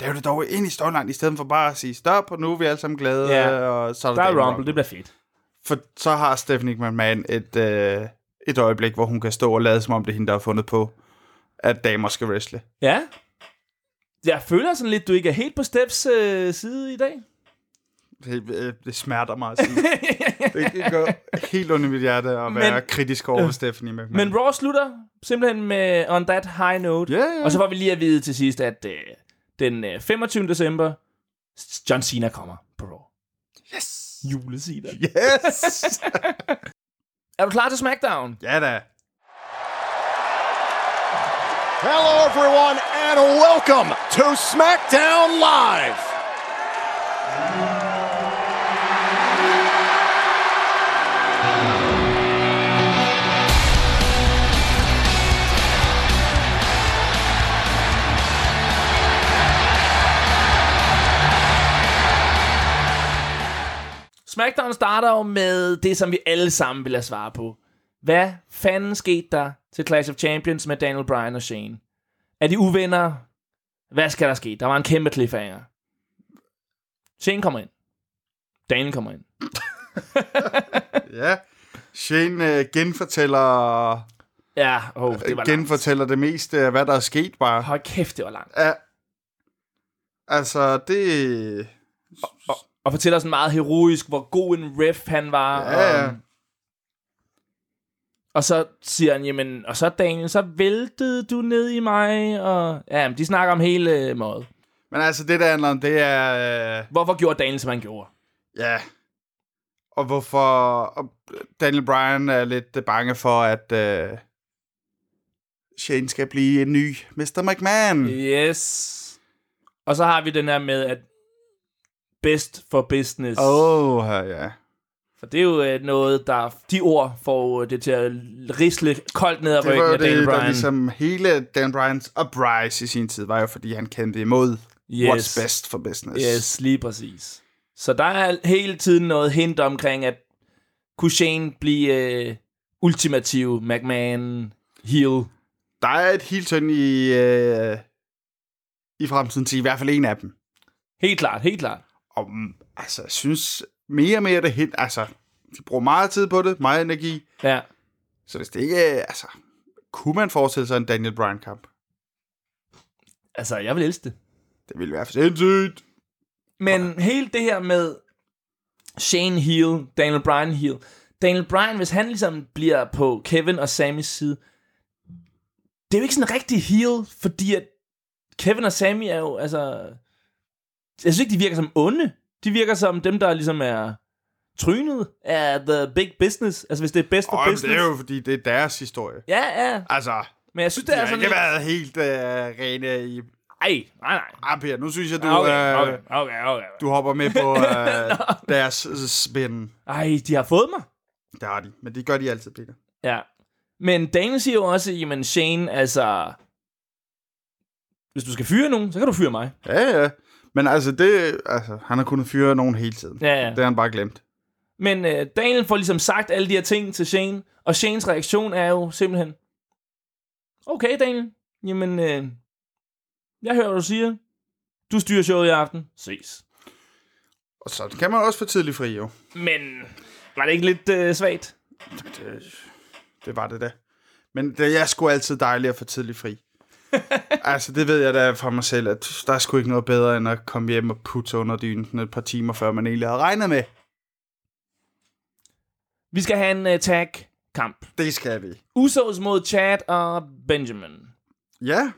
[SPEAKER 4] Ja.
[SPEAKER 1] Lav det dog ind i storyline, i stedet for bare at sige stop, og nu er vi alle sammen glade,
[SPEAKER 4] Ja.
[SPEAKER 1] ja. og så er der,
[SPEAKER 4] Der er
[SPEAKER 1] Dame
[SPEAKER 4] Rumble, det bliver fedt.
[SPEAKER 1] For så har Stephanie McMahon et, øh, et øjeblik, hvor hun kan stå og lade, som om det er hende, der har fundet på, at damer skal wrestle.
[SPEAKER 4] Ja. Jeg føler sådan lidt, du ikke er helt på Steps øh, side i dag.
[SPEAKER 1] Det, øh, det smerter mig at
[SPEAKER 4] [LAUGHS]
[SPEAKER 1] sige. det, det går helt under mit hjerte at være
[SPEAKER 4] Men-
[SPEAKER 1] Men, kritisk over for Stephanie McMahon.
[SPEAKER 4] Men Raw slutter simpelthen med On That High Note.
[SPEAKER 1] Ja, ja.
[SPEAKER 4] Og så får vi lige at vide til sidst, at øh, den øh, 25. december, John Cena kommer på Raw. Yes! Julesida.
[SPEAKER 1] Yes!
[SPEAKER 4] Er du klar til SmackDown?
[SPEAKER 1] ja da.
[SPEAKER 6] Hello, everyone, and welcome to SmackDown Live.
[SPEAKER 4] SmackDown starter jo med det, som vi alle sammen vil have svar på. Hvad fanden skete der til Clash of Champions med Daniel Bryan og Shane? Er de uvenner? Hvad skal der ske? Der var en kæmpe cliffhanger. Shane kommer ind. Daniel kommer ind.
[SPEAKER 1] ja. Shane øh, genfortæller øh,
[SPEAKER 4] Ja, oh, det var langt.
[SPEAKER 1] genfortæller det meste af, hvad der er sket bare.
[SPEAKER 4] Hold kæft, det var langt.
[SPEAKER 1] Ja. Altså, det...
[SPEAKER 4] Og fortæller sådan meget heroisk, hvor god en ref han var.
[SPEAKER 1] Ja,
[SPEAKER 4] Og,
[SPEAKER 1] ja.
[SPEAKER 4] og så siger han, jamen, og så Daniel, så væltede du ned i mig. Og, ja, men de snakker om hele øh, måde.
[SPEAKER 1] Men altså, det der handler om, det er... Øh,
[SPEAKER 4] Hvorfor gjorde Daniel, som han gjorde?
[SPEAKER 1] ja. Og hvorfor... Og Daniel Bryan er lidt øh, bange for, at... Øh, Shane skal blive en ny Mr. McMahon.
[SPEAKER 4] Yes. Og så har vi den her med, at best for business.
[SPEAKER 1] Åh, oh, ja.
[SPEAKER 4] For det er jo øh, noget, der... De ord får øh, det til at risle koldt ned ad
[SPEAKER 1] Det var
[SPEAKER 4] ryggen
[SPEAKER 1] jo
[SPEAKER 4] af Daniel
[SPEAKER 1] det,
[SPEAKER 4] Bryan.
[SPEAKER 1] der ligesom hele Dan Bryans uprise i sin tid, var jo fordi han kendte imod
[SPEAKER 4] Yes.
[SPEAKER 1] yes. what's best for business.
[SPEAKER 4] Yes, lige præcis. Så der er hele tiden noget hint omkring, at kunne Shane blive øh, ultimativ McMahon heel?
[SPEAKER 1] Der er et helt turn i, øh, i fremtiden til i hvert fald en af dem.
[SPEAKER 4] Helt klart, helt klart.
[SPEAKER 1] Og mm, altså, jeg synes mere og mere det hint, altså, de bruger meget tid på det, meget energi,
[SPEAKER 4] Ja.
[SPEAKER 1] så hvis det ikke, øh, altså, kunne man forestille sig en Daniel Bryan-kamp?
[SPEAKER 4] Altså, jeg vil elske det.
[SPEAKER 1] Det ville være for sindssygt.
[SPEAKER 4] Men hele det her med Shane heel, Daniel Bryan heel. Daniel Bryan, hvis han ligesom bliver på Kevin og Sammys side, det er jo ikke sådan en rigtig heel, fordi at Kevin og Sammy er jo, altså... Jeg synes ikke, de virker som onde. De virker som dem, der ligesom er trynet af the big business. Altså, hvis det er best for
[SPEAKER 1] Og det
[SPEAKER 4] business.
[SPEAKER 1] er jo, fordi det er deres historie.
[SPEAKER 4] Ja, ja.
[SPEAKER 1] Altså,
[SPEAKER 4] Men jeg synes,
[SPEAKER 1] det
[SPEAKER 4] det
[SPEAKER 1] har
[SPEAKER 4] er
[SPEAKER 1] ikke
[SPEAKER 4] sådan lidt...
[SPEAKER 1] været helt øh, rene i
[SPEAKER 4] Ej, nej, nej.
[SPEAKER 1] Ah, Per, nu synes jeg, du,
[SPEAKER 4] Okay,
[SPEAKER 1] øh,
[SPEAKER 4] okay, okay, okay.
[SPEAKER 1] du hopper med
[SPEAKER 4] [LAUGHS]
[SPEAKER 1] på øh, deres øh, spin.
[SPEAKER 4] Ej, de har fået mig.
[SPEAKER 1] Det har de, men det gør de altid, Peter.
[SPEAKER 4] Ja. Men Daniel siger jo også, jamen Shane, altså... Hvis du skal fyre nogen, så kan du fyre mig.
[SPEAKER 1] Ja, ja. Men altså, det, altså, han har kunnet fyre nogen hele tiden.
[SPEAKER 4] Ja, ja.
[SPEAKER 1] Det har han bare glemt.
[SPEAKER 4] Men øh, Daniel får ligesom sagt alle de her ting til Shane, og Shanes reaktion er jo simpelthen... Okay, Daniel. Jamen, øh, jeg hører, hvad du siger. Du styrer showet i aften. Ses.
[SPEAKER 1] Og så kan man også få tidlig fri, jo.
[SPEAKER 4] Men var det ikke lidt øh, svagt?
[SPEAKER 1] Det var det da. Men det er sgu altid dejligt at få tidlig
[SPEAKER 4] [LAUGHS]
[SPEAKER 1] fri. altså, det ved jeg da fra mig selv, at der er sgu ikke noget bedre, end at komme hjem og putte sig under dynen et par timer, før man egentlig havde regnet med.
[SPEAKER 4] Vi skal have en øh, tag-kamp.
[SPEAKER 1] Det skal vi.
[SPEAKER 4] Usos mod Chad og Benjamin.
[SPEAKER 1] Ja,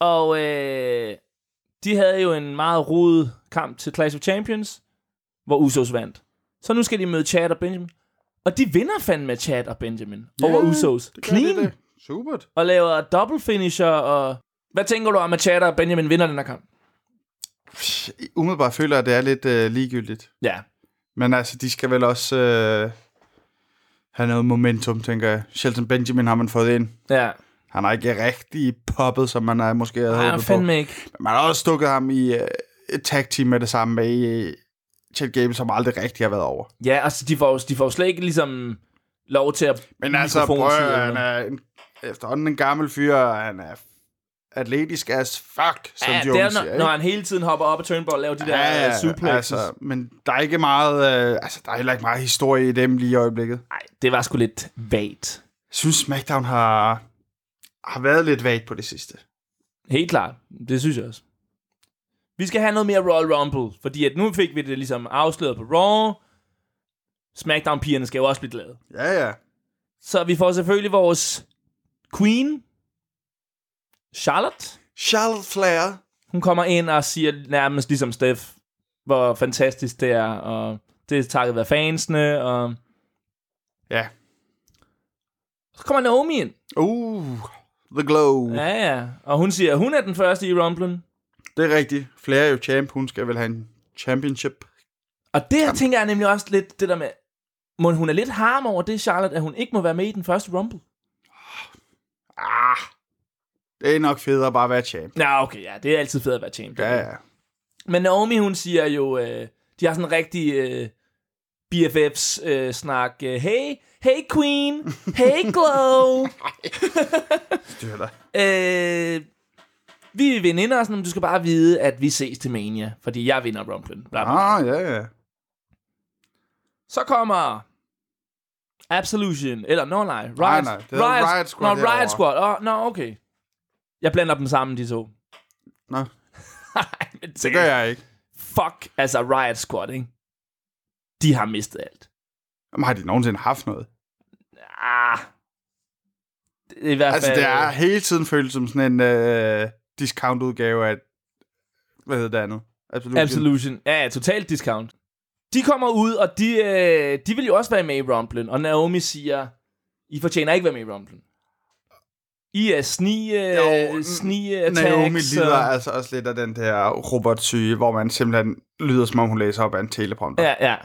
[SPEAKER 4] Og øh, de havde jo en meget rodet kamp til Clash of Champions, hvor Usos vandt. Så nu skal de møde Chad og Benjamin. Og de vinder fandme Chad og Benjamin ja, over Usos.
[SPEAKER 1] det gør
[SPEAKER 4] Clean.
[SPEAKER 1] det da. Supert.
[SPEAKER 4] og laver double finisher. Og... Hvad tænker du om, at Chad og Benjamin vinder den her kamp?
[SPEAKER 1] Umiddelbart føler jeg, at det er lidt øh, ligegyldigt.
[SPEAKER 4] Ja.
[SPEAKER 1] Men altså, de skal vel også øh, have noget momentum, tænker jeg. Shelton Benjamin har man fået ind.
[SPEAKER 4] Ja.
[SPEAKER 1] Han har ikke rigtig poppet, som man er måske havde
[SPEAKER 4] Nej,
[SPEAKER 1] håbet på.
[SPEAKER 4] fandme ikke.
[SPEAKER 1] Man har også stukket ham i øh, et tag team med det samme med i øh, Chad Gable, som aldrig rigtig har været over.
[SPEAKER 4] Ja, altså, de får, jo- de får jo slet ikke ligesom lov til at...
[SPEAKER 1] Men altså, prøv,
[SPEAKER 4] mikrofonen til
[SPEAKER 1] at-
[SPEAKER 4] eller
[SPEAKER 1] han
[SPEAKER 4] noget.
[SPEAKER 1] er en, efterhånden en gammel fyr, og han er atletisk as fuck, som
[SPEAKER 4] Ja,
[SPEAKER 1] de
[SPEAKER 4] det
[SPEAKER 1] unge
[SPEAKER 4] er,
[SPEAKER 1] siger.
[SPEAKER 4] når,
[SPEAKER 1] ikke?
[SPEAKER 4] når han hele tiden hopper op og turnbull og laver de der ja, ja, suplexes.
[SPEAKER 1] altså, men der er ikke meget, øh, altså, der er heller ikke meget historie i dem lige i øjeblikket.
[SPEAKER 4] Nej, det var sgu lidt vagt.
[SPEAKER 1] Jeg synes, SmackDown har, har været lidt vagt på det sidste.
[SPEAKER 4] Helt klart. Det synes jeg også. Vi skal have noget mere Royal Rumble, fordi at nu fik vi det ligesom afsløret på Raw. SmackDown-pigerne skal jo også blive glade.
[SPEAKER 1] Ja, ja.
[SPEAKER 4] Så vi får selvfølgelig vores queen, Charlotte.
[SPEAKER 1] Charlotte Flair.
[SPEAKER 4] Hun kommer ind og siger nærmest ligesom Steph, hvor fantastisk det er, og det er takket være fansene, og
[SPEAKER 1] Ja.
[SPEAKER 4] så kommer Naomi ind.
[SPEAKER 1] Uh, The Glow. Ja.
[SPEAKER 4] Ja, ja. Og hun siger, at hun er den første i Rumblen.
[SPEAKER 1] Det er rigtigt. Flair er jo champ. Hun skal vel have en championship.
[SPEAKER 4] Og det her tænker jeg nemlig også lidt det der med, må hun er lidt harm over det, Charlotte, at hun ikke må være med i den første Rumble.
[SPEAKER 1] Ah, det er nok federe bare at være champ.
[SPEAKER 4] Nå, okay, ja, det er altid fedt at være champion.
[SPEAKER 1] Ja, ja.
[SPEAKER 4] Men Naomi, hun siger jo, øh, de har sådan en rigtig øh, BFFs-snak. Øh, hey, hey queen,
[SPEAKER 1] [LAUGHS]
[SPEAKER 4] hey glow.
[SPEAKER 1] Styr dig.
[SPEAKER 4] øh, vi er veninder, og sådan, men du skal bare vide, at vi ses til Mania, fordi jeg vinder Rumble. Bla, bla.
[SPEAKER 1] Ah, ja, ja.
[SPEAKER 4] Så kommer Absolution, eller no, nej, Riot,
[SPEAKER 1] Nej, nej, det hedder Riot Squad
[SPEAKER 4] Nå,
[SPEAKER 1] herovre.
[SPEAKER 4] Riot Squad, oh, nå, okay. Jeg blander dem sammen, de to. [LAUGHS]
[SPEAKER 1] Nå,
[SPEAKER 4] Nej, men
[SPEAKER 1] det gør jeg ikke.
[SPEAKER 4] Fuck, altså Riot Squad, ikke? De har mistet alt.
[SPEAKER 1] Jamen, har de nogensinde haft noget?
[SPEAKER 4] Ah. Det er i hvert fald...
[SPEAKER 1] Altså, det er hele tiden følt som sådan en øh, discount-udgave af, hvad hedder det andet? Absolut.
[SPEAKER 4] Absolution. Ja, ja, totalt discount. De kommer ud, og de, øh, de vil jo også være med i Rumblen. Og Naomi siger, I fortjener ikke være med i Rumblen. I er sni,
[SPEAKER 1] Jo,
[SPEAKER 4] øh, sni attacks.
[SPEAKER 1] Naomi lider
[SPEAKER 4] og-
[SPEAKER 1] altså også lidt af den der robotsyge, hvor man simpelthen lyder, som om hun læser op af en teleprompter.
[SPEAKER 4] Ja, ja.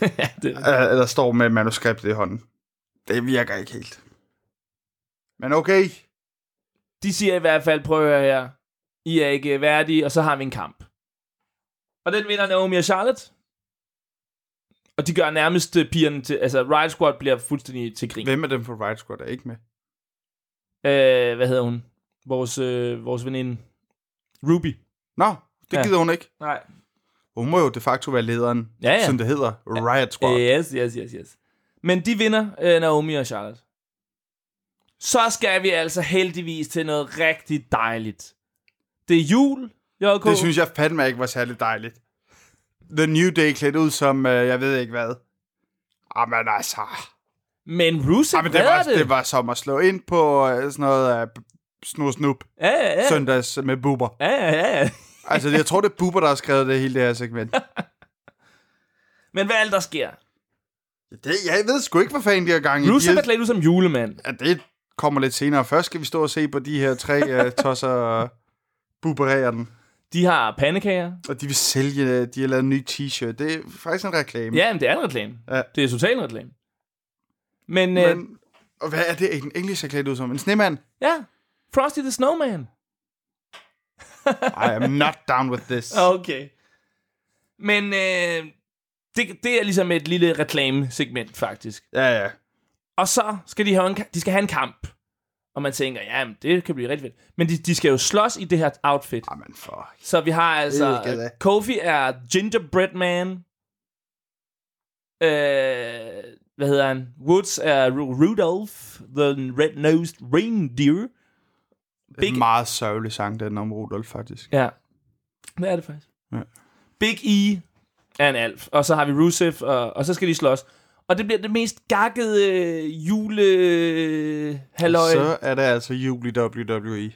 [SPEAKER 4] [LAUGHS] ja det,
[SPEAKER 1] Øh, Eller står med manuskriptet i hånden. Det virker ikke helt. Men okay.
[SPEAKER 4] de siger i hvert fald, prøv at høre her. I er ikke værdige, og så har vi en kamp. Og den vinder Naomi og Charlotte. Og de gør nærmest øh, pigerne til... Altså, Riot Squad bliver fuldstændig til grin.
[SPEAKER 1] Hvem af dem fra Riot Squad er ikke med?
[SPEAKER 4] Øh, hvad hedder hun? Vores, øh, vores veninde. Ruby.
[SPEAKER 1] Nå, det
[SPEAKER 4] Ja.
[SPEAKER 1] gider hun ikke.
[SPEAKER 4] Nej.
[SPEAKER 1] Hun må jo de facto være lederen,
[SPEAKER 4] Ja, ja.
[SPEAKER 1] som det hedder, Riot Squad.
[SPEAKER 4] Øh, Yes, yes, yes, yes. Men de vinder, øh, Naomi og Charlotte. Så skal vi altså heldigvis til noget rigtig dejligt. Det er jul, JK.
[SPEAKER 1] Det synes jeg fandme ikke var særlig dejligt. The New Day klædt ud som, øh, jeg ved ikke hvad. Jamen altså.
[SPEAKER 4] Men Rusev
[SPEAKER 1] Jamen, det, var,
[SPEAKER 4] det.
[SPEAKER 1] det var som at slå ind på øh, sådan noget øh, snu snup
[SPEAKER 4] Ja, ja, ja.
[SPEAKER 1] søndags med buber.
[SPEAKER 4] ja, ja, ja.
[SPEAKER 1] Altså, jeg tror, det er buber, der har skrevet det hele det her segment.
[SPEAKER 4] Men hvad er det, der sker?
[SPEAKER 1] Det, jeg ved sgu ikke, hvad fanden de har gang i.
[SPEAKER 4] Rusev
[SPEAKER 1] De-
[SPEAKER 4] er klædt ud som julemand.
[SPEAKER 1] Ja, det kommer lidt senere. Først skal vi stå og se på de her
[SPEAKER 4] [LAUGHS]
[SPEAKER 1] tre uh, tosser og buberere den.
[SPEAKER 4] De har pandekager.
[SPEAKER 1] Og de vil sælge, øh, de har lavet en ny t-shirt. Det er faktisk en reklame.
[SPEAKER 4] Ja, men det er en reklame.
[SPEAKER 1] Ja.
[SPEAKER 4] Det er totalt en reklame. Men, men... Øh,
[SPEAKER 1] Men, og hvad er det, en engelsk er klædt ud som? En snemand?
[SPEAKER 4] ja, Frosty the Snowman.
[SPEAKER 1] I am not down with this.
[SPEAKER 4] Okay. Men øh, det, det er ligesom et lille reklamesegment, faktisk.
[SPEAKER 1] Ja, ja.
[SPEAKER 4] Og så skal de have en, ka- de skal have en kamp. Og man tænker, ja, det kan blive rigtig fedt. Men de, de skal jo slås i det her outfit.
[SPEAKER 1] Jamen Ah, for...
[SPEAKER 4] Så vi har altså...
[SPEAKER 1] Det er det.
[SPEAKER 4] Kofi er Gingerbread Man. Øh, hvad hedder han? Woods er Ru- Rudolph, the Red-Nosed Reindeer.
[SPEAKER 1] Det er en meget sørgelig sang, den om Rudolf, faktisk.
[SPEAKER 4] Ja. Hvad er det faktisk?
[SPEAKER 1] Ja.
[SPEAKER 4] Big E er en alf, og så har vi Rusev, og, og så skal de slås. Og det bliver det mest gakkede øh, jule... Halløj.
[SPEAKER 1] Så er det altså jul i E. WWE.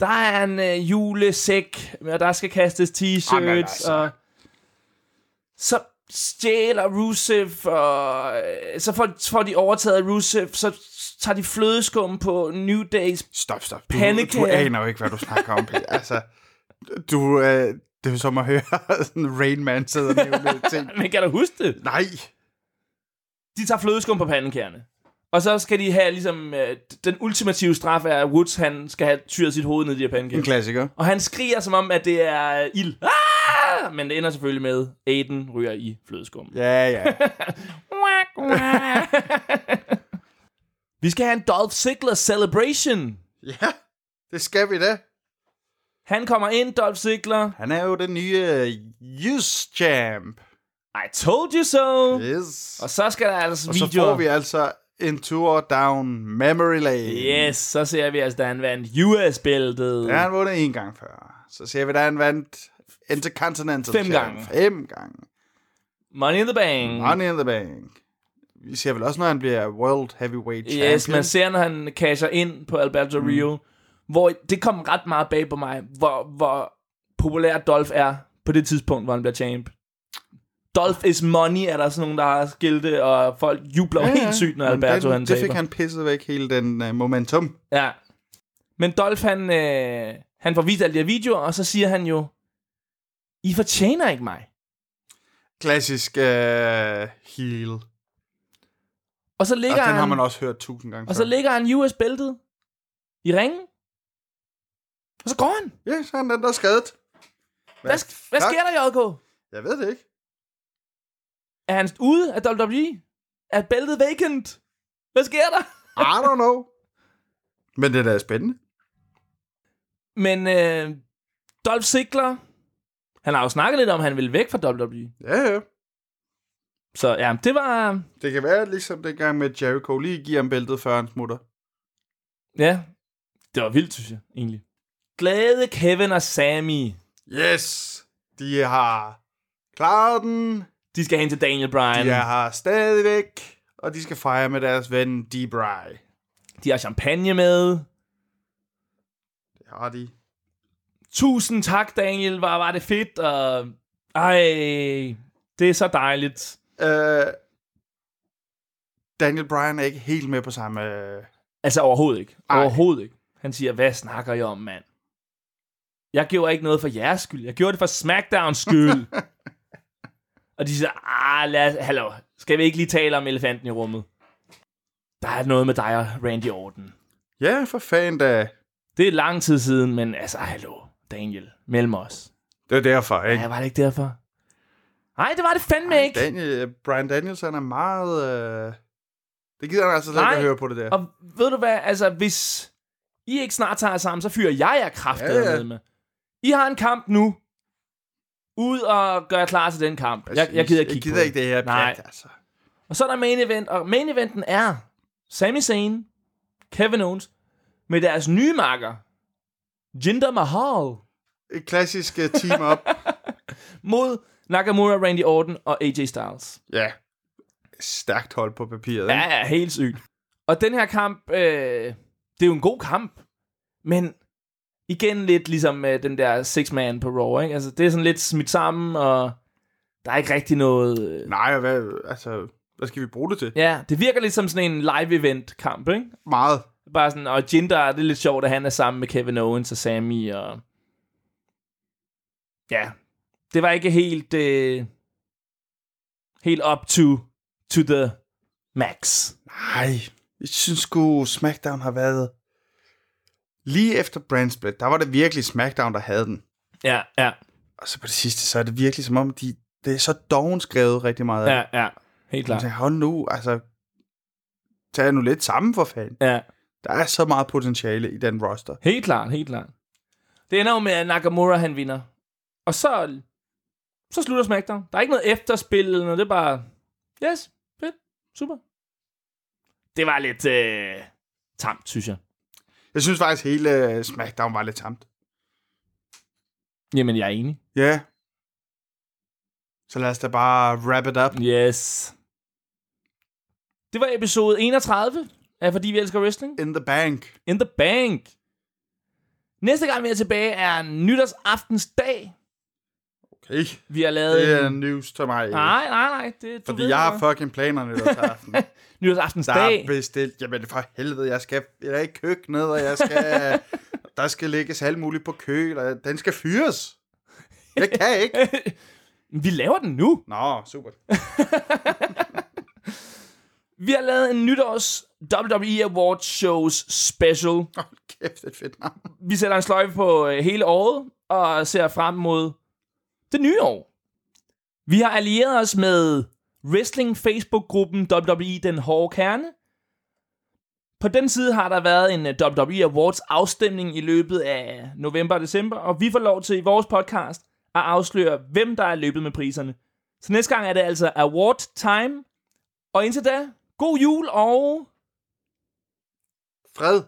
[SPEAKER 4] Der er en øh, julesæk, og der skal kastes
[SPEAKER 1] Ej, men
[SPEAKER 4] t-shirts,
[SPEAKER 1] altså.
[SPEAKER 4] og så stjæler Rusev, og øh, så får, får de overtaget Rusev, så tager de flødeskum på New Days.
[SPEAKER 1] Stop, stop. Du, du
[SPEAKER 4] Pandekager.
[SPEAKER 1] aner jo ikke, hvad du snakker om. [LAUGHS] Peter. altså, du... Øh, det er jo som at høre [LAUGHS] sådan en Rain Man sidde og nævne ting.
[SPEAKER 4] Men kan du huske det?
[SPEAKER 1] Nej,
[SPEAKER 4] De tager flødeskum på pandekærne. Og så skal de have ligesom, øh, den ultimative straf er, at Woods han skal have tyret sit hoved ned i de her
[SPEAKER 1] En
[SPEAKER 4] pandekager.
[SPEAKER 1] klassiker.
[SPEAKER 4] Og han skriger som om, at det er øh, ild. Ah! Men det ender selvfølgelig med, Aiden ryger i flødeskum.
[SPEAKER 1] Ja, ja.
[SPEAKER 4] [LAUGHS] Vi skal have en Dolph Ziggler celebration.
[SPEAKER 1] [LAUGHS] ja, det skal vi da.
[SPEAKER 4] Han kommer ind, Dolph Ziggler.
[SPEAKER 1] Han er jo den nye uh, Youth Champ.
[SPEAKER 4] I told you so.
[SPEAKER 1] Yes. Og,
[SPEAKER 4] Og så skal der altså
[SPEAKER 1] og
[SPEAKER 4] videoer.
[SPEAKER 1] så får vi altså en tur down memory lane.
[SPEAKER 4] Yes, så ser vi altså, da han vandt US-bæltet.
[SPEAKER 1] Der har han vundet en gang før. Så ser vi, da han vandt Intercontinental
[SPEAKER 4] Fem
[SPEAKER 1] Champ.
[SPEAKER 4] gange.
[SPEAKER 1] Fem gange.
[SPEAKER 4] Money in the Bank.
[SPEAKER 1] Money in the Bank. Vi ser vel også, når han bliver World Heavyweight Champion. Mm.
[SPEAKER 4] Yes, man ser, når han casher ind på Alberto Rio, hvor det kom ret meget bag på mig, hvor, hvor populær Dolph er på det tidspunkt, hvor han bliver champ. Dolph is money, er der sådan nogen, der har skilte, og folk jubler ja, helt sygt, når
[SPEAKER 1] Men
[SPEAKER 4] Alberto
[SPEAKER 1] den,
[SPEAKER 4] han
[SPEAKER 1] Det
[SPEAKER 4] taber.
[SPEAKER 1] fik han pisset væk hele den uh, momentum.
[SPEAKER 4] Ja. Men Dolph, han, øh, han får vist alle de her videoer, og så siger han jo, I fortjener ikke mig.
[SPEAKER 1] Klassisk uh, heel.
[SPEAKER 4] Og så
[SPEAKER 1] Og
[SPEAKER 4] ligger,
[SPEAKER 1] den
[SPEAKER 4] han,
[SPEAKER 1] har man også hørt tusind gange
[SPEAKER 4] og
[SPEAKER 1] før.
[SPEAKER 4] så ligger han US-bæltet i ringen. Og så går han.
[SPEAKER 1] Ja, så er han den, der er skadet.
[SPEAKER 4] Hvad, sk- hvad sker der, JK?
[SPEAKER 1] Jeg ved det ikke.
[SPEAKER 4] Er han ude af WWE? Er bæltet vacant? Hvad sker der?
[SPEAKER 1] [LAUGHS] I don't know. Men det er da spændende.
[SPEAKER 4] Men øh, Dolph Ziggler, han har jo snakket lidt om, at han ville væk fra WWE.
[SPEAKER 1] Ja, ja.
[SPEAKER 4] Så ja, det var...
[SPEAKER 1] Det kan være ligesom dengang med Jericho lige giver ham bæltet, før han smutter.
[SPEAKER 4] Ja, det var vildt, synes jeg, egentlig. Glade Kevin og Sammy,
[SPEAKER 1] Yes! De har klaret den.
[SPEAKER 4] de skal hen til Daniel Bryan.
[SPEAKER 1] De har stadigvæk. Og de skal fejre med deres ven Debray.
[SPEAKER 4] De har champagne med.
[SPEAKER 1] Det har de.
[SPEAKER 4] Tusind tak, Daniel. Var, var det fedt. Og... Ej, det er så dejligt.
[SPEAKER 1] Øh, Daniel Bryan er ikke helt med på samme... øh,
[SPEAKER 4] Altså overhovedet ikke.
[SPEAKER 1] Ej.
[SPEAKER 4] Overhovedet ikke. Han siger, hvad snakker I om, mand? Jeg gjorde ikke noget for jeres skyld. Jeg gjorde det for SmackDowns [LAUGHS] skyld. og de siger, ah, lad os, hallo, skal vi ikke lige tale om elefanten i rummet? Der er noget med dig og Randy Orton.
[SPEAKER 1] Ja, for fanden da.
[SPEAKER 4] Det er lang tid siden, men altså, hallo, Daniel, mellem os.
[SPEAKER 1] Det er derfor, ikke?
[SPEAKER 4] Ja, var det ikke derfor? Nej, det var det fandme ikke.
[SPEAKER 1] Daniel, Brian Daniels, han er meget... Øh... Det gider han altså slet
[SPEAKER 4] Nej.
[SPEAKER 1] ikke at høre på det der.
[SPEAKER 4] Og ved du hvad, altså hvis I ikke snart tager jer sammen, så fyrer jeg jer kraftet
[SPEAKER 1] Ja, ja.
[SPEAKER 4] med med. I har en kamp nu. Ud og gør jer klar til den kamp. Jeg, jeg gider ikke
[SPEAKER 1] jeg
[SPEAKER 4] kigge
[SPEAKER 1] gider
[SPEAKER 4] på
[SPEAKER 1] ikke det her.
[SPEAKER 4] Nej.
[SPEAKER 1] Pjat, altså.
[SPEAKER 4] Og så er der main event, og main eventen er Sami Zayn, Kevin Owens, med deres nye marker, Jinder Mahal,
[SPEAKER 1] Et klassisk uh,
[SPEAKER 4] [LAUGHS]
[SPEAKER 1] team-up.
[SPEAKER 4] mod Nakamura, Randy Orton og AJ Styles.
[SPEAKER 1] ja. Stærkt hold på papiret, ikke?
[SPEAKER 4] Ja, ja, helt sygt. Og den her kamp, øh, det er jo en god kamp, men igen lidt ligesom øh, den der six-man på Raw, ikke? Altså, det er sådan lidt smidt sammen, og der er ikke rigtig noget... Øh,
[SPEAKER 1] Nej, og hvad, altså, hvad skal vi bruge det til?
[SPEAKER 4] ja, det virker lidt som sådan en live-event-kamp, ikke?
[SPEAKER 1] Meget.
[SPEAKER 4] Bare sådan, og Jinder, det er lidt sjovt, at han er sammen med Kevin Owens og Sammy, og... Ja, det var ikke helt... Øh, helt up to, to the max.
[SPEAKER 1] Nej, jeg synes sgu, SmackDown har været... Lige efter Brand Split, der var det virkelig SmackDown, der havde den.
[SPEAKER 4] Ja, ja.
[SPEAKER 1] Og så på det sidste, så er det virkelig som om, de, det er så doven skrevet rigtig meget. af.
[SPEAKER 4] Ja, ja. Helt
[SPEAKER 1] Jeg
[SPEAKER 4] klart.
[SPEAKER 1] tænker, hold nu, altså... Tag jer nu lidt sammen for fanden.
[SPEAKER 4] Ja,
[SPEAKER 1] Der er så meget potentiale i den roster.
[SPEAKER 4] helt klart, helt klart. Det ender jo med, at Nakamura han vinder. Og så, så slutter SmackDown. Der er ikke noget efterspil eller noget. Det er bare, yes, fedt, super. Det var lidt øh, tamt, synes jeg.
[SPEAKER 1] Jeg synes faktisk, hele øh, SmackDown var lidt tamt.
[SPEAKER 4] Jamen, jeg er enig.
[SPEAKER 1] Ja. Yeah. Så lad os da bare wrap it up.
[SPEAKER 4] Yes. Det var episode 31 af Fordi vi elsker wrestling.
[SPEAKER 1] In the bank.
[SPEAKER 4] In the bank. Næste gang vi er tilbage er nytårsaftensdag.
[SPEAKER 1] Okay.
[SPEAKER 4] Vi har lavet...
[SPEAKER 1] Det er
[SPEAKER 4] en...
[SPEAKER 1] news til mig.
[SPEAKER 4] Nej, nej, nej. Det, Ah, du
[SPEAKER 1] Fordi
[SPEAKER 4] ved
[SPEAKER 1] jeg
[SPEAKER 4] det
[SPEAKER 1] har
[SPEAKER 4] godt.
[SPEAKER 1] fucking planer nytårsaften. Der
[SPEAKER 4] nytårsaftensdag.
[SPEAKER 1] er bestilt, jamen for helvede, jeg skal jeg er i køkkenet, og jeg skal, der skal lægges alt muligt på køl, og den skal fyres. Jeg kan ikke.
[SPEAKER 4] Vi laver den nu.
[SPEAKER 1] Nå, super.
[SPEAKER 4] Vi har lavet en nytårs WWE Awards Shows special.
[SPEAKER 1] Hold kæft, et fedt navn.
[SPEAKER 4] Vi sætter en sløjfe på øh, hele året og ser frem mod det nye år. Vi har allieret os med wrestling Facebook-gruppen WWE Den Hårde Kerne. På den side har der været en øh, WWE Awards afstemning i løbet af november og december, og vi får lov til i vores podcast at afsløre, hvem der er løbet med priserne. Så næste gang er det altså award time. Og indtil da, god jul og...
[SPEAKER 1] Fred.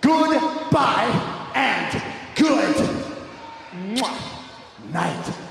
[SPEAKER 9] Goodbye and good mwah, night.